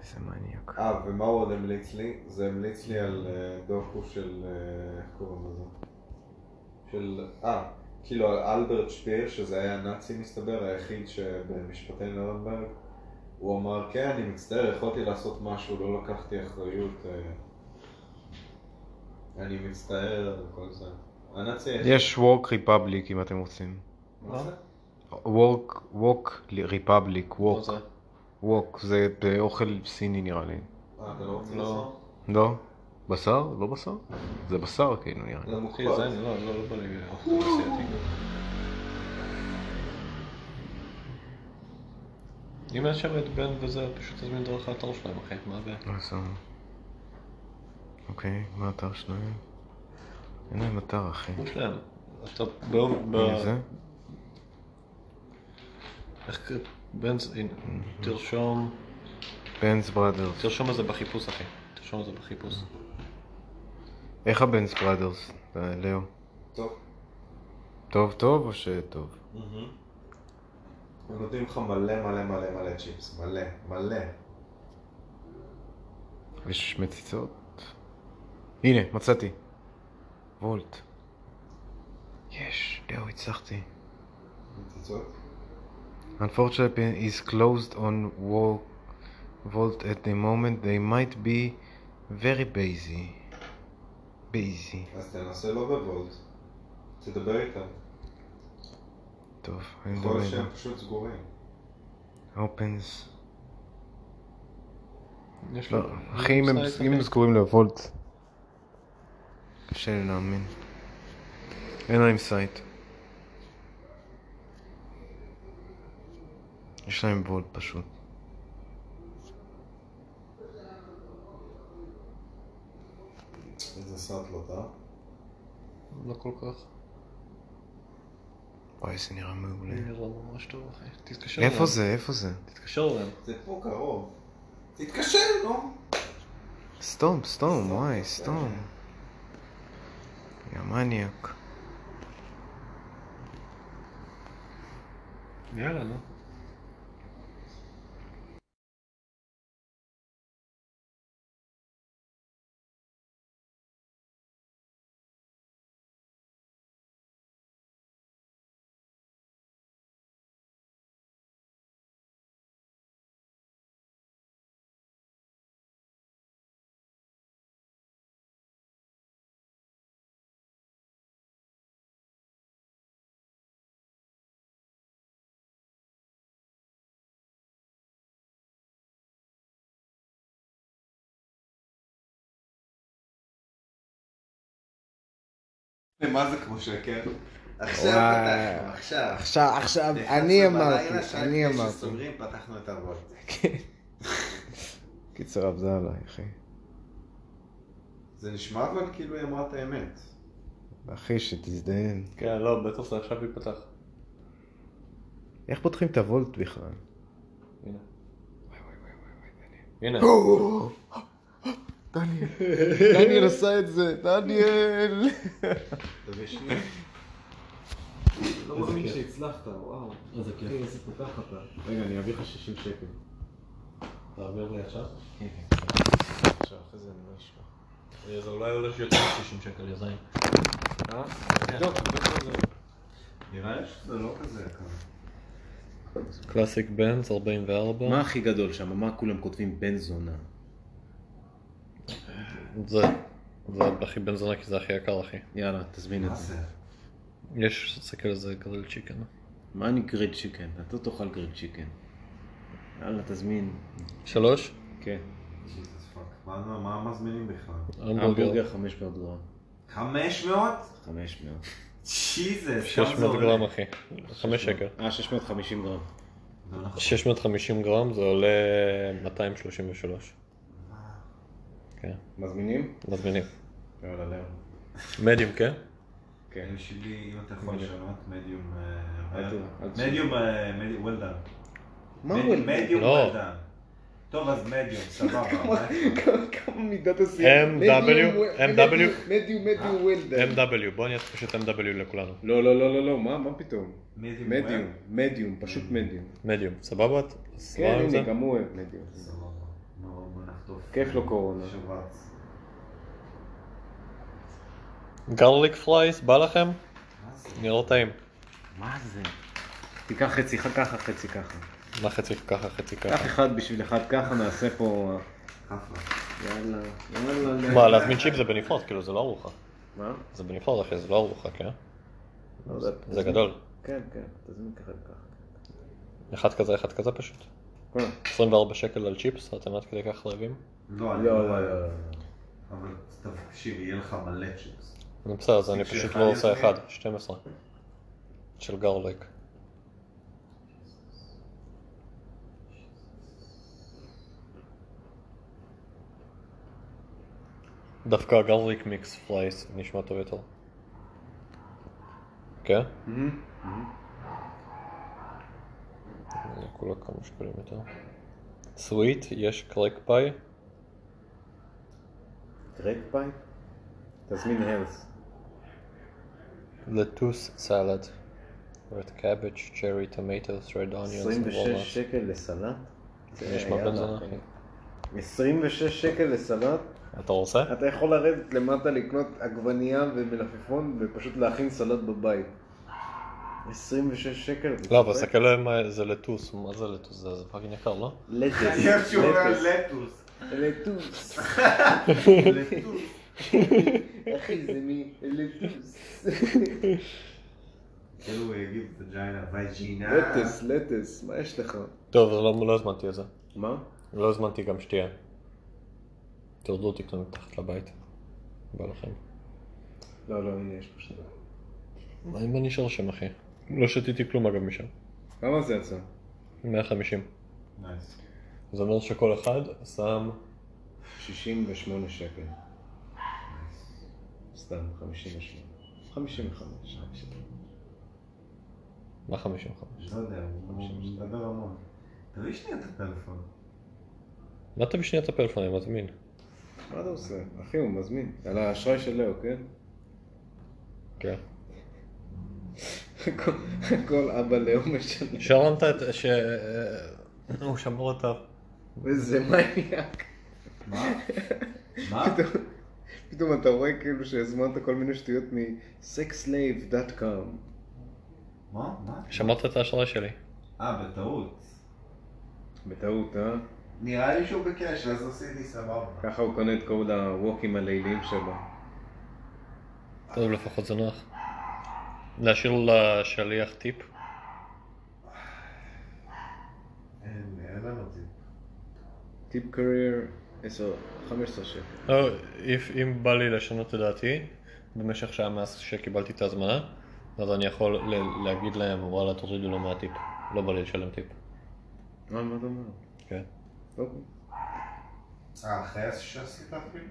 [SPEAKER 5] איזה מניאק.
[SPEAKER 2] אה, ומה הוא עוד המליץ לי? זה המליץ לי על אה, דוקו של... אה, איך קוראים לזה? של... אה, כאילו על אלברט שפיר, שזה היה הנאצי מסתבר, היחיד שבמשפטי נורנברג, הוא אמר, כן, אני מצטער, יכולתי לעשות משהו, לא לקחתי אחריות. אה, אני מצטער, וכל זה. הנאצי היחיד...
[SPEAKER 9] יש וורק ריפבליק אם אתם רוצים.
[SPEAKER 5] לא.
[SPEAKER 2] מה זה?
[SPEAKER 9] וורק, ווק ריפבליק,
[SPEAKER 8] לא
[SPEAKER 9] ווק. ווק, זה אוכל סיני נראה לי.
[SPEAKER 2] אה, אתה לא רוצה לעשות?
[SPEAKER 9] לא? בשר? לא בשר? זה בשר כאילו נראה לי.
[SPEAKER 2] זה מוכרח.
[SPEAKER 5] לא, לא, לא בא לי לאכול אסיאתי.
[SPEAKER 3] אם אין שם את בן וזה, פשוט תזמין דרך האתר שלהם, אחי, מה הבעיה?
[SPEAKER 9] בסדר. אוקיי, מה האתר שלהם? אין להם אתר אחי.
[SPEAKER 3] מה שלהם? אתה ביום... ב-
[SPEAKER 8] לא.
[SPEAKER 9] הנה זה?
[SPEAKER 3] איך ק- בן... הנה, תרשום...
[SPEAKER 9] בנס בראדרס.
[SPEAKER 3] תרשום את זה בחיפוש, אחי. תרשום את זה בחיפוש.
[SPEAKER 9] איך הבנס בראדרס? אה, לאו.
[SPEAKER 2] טוב.
[SPEAKER 10] טוב טוב או שטוב?
[SPEAKER 2] הם נותנים לך מלא מלא מלא מלא צ'יפס, מלא, מלא.
[SPEAKER 10] יש מציצות? הנה, מצאתי. וולט. יש, זהו, הצלחתי.
[SPEAKER 2] מציצות?
[SPEAKER 10] Unfortunately, it is closed on Wa- Vault at the moment. They might be very busy. busy.
[SPEAKER 2] אז תנסה לא בוולט. תדבר איתם.
[SPEAKER 10] טוב, אני
[SPEAKER 2] יכול להיות
[SPEAKER 10] מדבר.
[SPEAKER 2] שהם פשוט סגורים.
[SPEAKER 10] אופנס.
[SPEAKER 11] יש
[SPEAKER 10] לא,
[SPEAKER 11] לו-
[SPEAKER 10] אחי, אם הם-
[SPEAKER 11] אפשר
[SPEAKER 10] אם הם
[SPEAKER 11] להתאפק.
[SPEAKER 10] סגורים לוולט. קשה לי להאמין. אין להם סייט. יש להם וולט פשוט.
[SPEAKER 2] איזה סרט לא טעה.
[SPEAKER 11] לא כל כך.
[SPEAKER 10] וואי, זה נראה מעולה.
[SPEAKER 11] נראה ממש טוב, אחי. תתקשר אליהם.
[SPEAKER 10] איפה זה? איפה זה?
[SPEAKER 11] תתקשר אליהם.
[SPEAKER 2] זה פה קרוב. תתקשר, נו. כן.
[SPEAKER 10] סתום, סתום, וואי, סתום. יא מניאק.
[SPEAKER 11] יאללה, נו.
[SPEAKER 2] אה, מה זה כמו שקר? עכשיו
[SPEAKER 10] וואי.
[SPEAKER 2] פתחנו, עכשיו.
[SPEAKER 10] עכשיו, עכשיו,
[SPEAKER 2] ב-11
[SPEAKER 10] אני
[SPEAKER 2] בלילה,
[SPEAKER 10] אמרתי,
[SPEAKER 2] שעה
[SPEAKER 10] אני
[SPEAKER 2] לפני
[SPEAKER 10] אמרתי.
[SPEAKER 2] שסוגרים, פתחנו את הוולט.
[SPEAKER 10] קיצר, עבדה עליי, אחי.
[SPEAKER 2] זה נשמע אבל כאילו היא אמרה את האמת.
[SPEAKER 10] אחי, שתזדיין.
[SPEAKER 12] כן, לא, בטח זה עכשיו ייפתח.
[SPEAKER 10] איך פותחים את הוולט בכלל?
[SPEAKER 12] הנה.
[SPEAKER 11] הנה.
[SPEAKER 10] דניאל, דניאל עשה את זה, דניאל!
[SPEAKER 2] תביא שנייה.
[SPEAKER 5] לא מאמין שהצלחת, וואו. איזה כיף. איזה פותח אתה. רגע, אני אביא לך 60 שקל.
[SPEAKER 12] תעביר לי עכשיו.
[SPEAKER 5] כן, עכשיו, אחרי זה אני לא אשכח.
[SPEAKER 3] זה אולי עולה שיותר מ-60 שקל יזיים.
[SPEAKER 5] אה? תבדוק, תבדוק מה זה.
[SPEAKER 2] נראה לי שזה לא כזה יקר.
[SPEAKER 3] קלאסיק בנץ 44.
[SPEAKER 5] מה הכי גדול שם? מה כולם כותבים בן זונה?
[SPEAKER 3] זה. זה הכי בן זונה כי זה הכי יקר אחי.
[SPEAKER 5] יאללה, תזמין
[SPEAKER 2] מה
[SPEAKER 5] את זה.
[SPEAKER 2] זה?
[SPEAKER 3] יש, תסתכל על זה גריל צ'יקן.
[SPEAKER 5] מה אני גריד צ'יקן? אתה לא תאכל גריד צ'יקן. יאללה, תזמין.
[SPEAKER 3] שלוש?
[SPEAKER 5] כן.
[SPEAKER 2] Jesus fuck. מה- מה מה מזמינים בכלל?
[SPEAKER 3] המבורגר.
[SPEAKER 5] המבורגר 500 גרם.
[SPEAKER 2] 500?
[SPEAKER 5] 500.
[SPEAKER 2] שיזס,
[SPEAKER 3] 600 גרם אחי. חמש שקל.
[SPEAKER 5] אה, 650 גרם.
[SPEAKER 2] לא, נכון.
[SPEAKER 3] 650 גרם זה עולה 233. כן,
[SPEAKER 5] מזמינים?
[SPEAKER 3] מזמינים.
[SPEAKER 5] יאללה, לאו.
[SPEAKER 3] מדיום, כן?
[SPEAKER 5] כן.
[SPEAKER 2] שלי, אם אתה יכול לשנות, מדיום... אה,
[SPEAKER 5] אל ת- אל ת-
[SPEAKER 2] מדיום, אה, מדיום, well done.
[SPEAKER 5] מה
[SPEAKER 2] מד-
[SPEAKER 5] הוא...
[SPEAKER 2] מדיום,
[SPEAKER 3] לא.
[SPEAKER 2] well done. טוב, אז מדיום, סבבה.
[SPEAKER 5] כמה מידת הסיום?
[SPEAKER 3] MW, MW,
[SPEAKER 5] מדיום, מדיום וילדר.
[SPEAKER 3] MW, בוא אני אעשה פשוט MW לכולנו.
[SPEAKER 5] לא, לא, לא, לא, לא, מה, מה פתאום?
[SPEAKER 2] מדיום,
[SPEAKER 5] מדיום, מדיום, פשוט מדיום.
[SPEAKER 3] מדיום, סבבה? את סבבה
[SPEAKER 5] כן,
[SPEAKER 3] עם זה?
[SPEAKER 5] הנה, גם הוא אוהב מדיום.
[SPEAKER 2] well done. סבבה. נו, בוא נחטוף.
[SPEAKER 5] כיף לא לו קורונה.
[SPEAKER 2] שבץ.
[SPEAKER 3] גרליק פרייס, בא לכם?
[SPEAKER 2] מה זה?
[SPEAKER 3] נראה טעים.
[SPEAKER 5] מה זה? תיקח חצי ככה, חצי ככה.
[SPEAKER 3] מה חצי ככה, חצי ככה.
[SPEAKER 5] קח אחד בשביל אחד ככה, נעשה פה...
[SPEAKER 2] כפרה.
[SPEAKER 5] יאללה, יאללה.
[SPEAKER 3] מה, להזמין צ'יפ זה בנפרד, כאילו זה לא ארוחה.
[SPEAKER 5] מה?
[SPEAKER 3] זה בנפרד אחי, זה לא ארוחה, כן?
[SPEAKER 5] לא יודע.
[SPEAKER 3] זה גדול.
[SPEAKER 5] כן, כן, תזמין ככה וככה.
[SPEAKER 3] אחד כזה, אחד כזה פשוט.
[SPEAKER 5] כן.
[SPEAKER 3] 24 שקל על צ'יפס, אתם עד כדי כך רעבים?
[SPEAKER 2] לא, אני
[SPEAKER 5] לא, לא,
[SPEAKER 2] לא...
[SPEAKER 5] לא.
[SPEAKER 2] אבל תקשיב, יהיה לך מלא צ'יפס.
[SPEAKER 3] נו, בסדר, אז אני פשוט לא עושה אחד, 12. של גרליק. דווקא הגרליק מיקס פלייס נשמע טוב יותר. כן? זה כולה כמה שקלים יותר. סוויט, יש קרק פאי,
[SPEAKER 5] קרק פאי? תזמין הרס.
[SPEAKER 3] lettuce salad, red cabbage, cherry tomatoes, red onions and
[SPEAKER 6] 26
[SPEAKER 3] walnuts.
[SPEAKER 6] שקל לסלט?
[SPEAKER 3] זה נשמע
[SPEAKER 6] יאללה,
[SPEAKER 3] בן זונה,
[SPEAKER 6] אחי.
[SPEAKER 3] אחי.
[SPEAKER 6] 26 שקל לסלט?
[SPEAKER 3] אתה רוצה?
[SPEAKER 6] אתה יכול לרדת למטה לקנות עגבנייה ומלפפון ופשוט להכין סלט בבית. 26 שקל?
[SPEAKER 3] לא, אבל תסתכל עליהם, אה, זה לטוס, מה זה לטוס? זה זה פאקינג יקר, לא?
[SPEAKER 6] לטוס.
[SPEAKER 2] אני אוהב שהוא אומר לטוס.
[SPEAKER 6] לטוס.
[SPEAKER 2] לטוס.
[SPEAKER 6] אחי, זה מ... לטוס.
[SPEAKER 2] כאילו הוא יגיד וג'יינה, וג'ינה.
[SPEAKER 6] לטס, לטס, מה יש לך?
[SPEAKER 3] טוב, אז לא לא הזמנתי את זה.
[SPEAKER 6] מה?
[SPEAKER 3] לא הזמנתי גם שתייה. תרדו תקנו מתחת לבית. בא לכם.
[SPEAKER 6] לא, לא, הנה יש פה שתיים.
[SPEAKER 3] מה אם אני נשאר שם, אחי? לא שתיתי כלום אגב משם.
[SPEAKER 6] כמה זה יצא?
[SPEAKER 3] 150.
[SPEAKER 6] נייס.
[SPEAKER 3] זה אומר שכל אחד שם...
[SPEAKER 6] 68 שקל. סתם, 58. 55.
[SPEAKER 3] מה 55?
[SPEAKER 2] לא יודע, הוא מדבר המון. תביא שנייה את הפלאפון.
[SPEAKER 3] מה אתה בשנייה את הפלאפון, אני מזמין.
[SPEAKER 6] מה אתה עושה? אחי, הוא מזמין. על האשראי של לאו, כן?
[SPEAKER 3] כן.
[SPEAKER 6] הכל אבא לאו משלם.
[SPEAKER 3] שרמת את... ש... אה, הוא שמור את ה...
[SPEAKER 6] איזה מניאק.
[SPEAKER 2] מה?
[SPEAKER 6] פתאום- פתאום אתה רואה כאילו שהזמנת כל מיני שטויות מ-sexslave.com.
[SPEAKER 2] מה? מה?
[SPEAKER 3] שמרת את האשראי שלי.
[SPEAKER 2] אה, בטעות.
[SPEAKER 6] בטעות, אה?
[SPEAKER 2] נראה לי שהוא ביקש, אז עשיתי סבבה.
[SPEAKER 6] ככה הוא קונה את כל הווקים הליליים שלו.
[SPEAKER 3] טוב, לפחות זה נוח. להשאיר לשליח טיפ?
[SPEAKER 2] אין, אין לנו טיפ.
[SPEAKER 6] טיפ קרייר 10, 15 שקל.
[SPEAKER 3] לא, if- אם בא לי לשנות את דעתי, במשך שעה מאז שקיבלתי את ההזמנה, אז אני יכול ל- להגיד להם, וואלה, תורידו לו מהטיפ. לא בא לי לשלם טיפ.
[SPEAKER 6] אה, מה אתה אומר?
[SPEAKER 3] כן.
[SPEAKER 6] אוקיי.
[SPEAKER 2] אה, אחרי שעשית אפילו?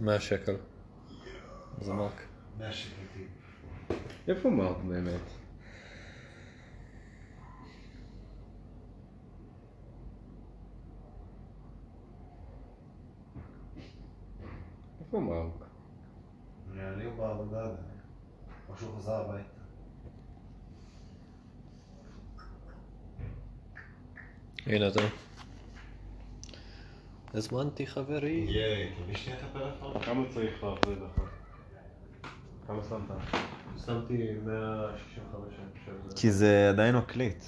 [SPEAKER 3] 100 שקל. זה מרק.
[SPEAKER 2] מהשקטים.
[SPEAKER 6] איפה מרק באמת? איפה מרק?
[SPEAKER 2] נראה לי הוא בעבודה עדיין. או שהוא חזר הביתה.
[SPEAKER 3] הנה זה. הזמנתי חברים.
[SPEAKER 2] ייי, תביא שנייה את הפלאפון.
[SPEAKER 6] כמה צריך להחזיר לך? כמה שמת?
[SPEAKER 13] שמתי 165 אני חושב.
[SPEAKER 14] כי זה עדיין מקליט.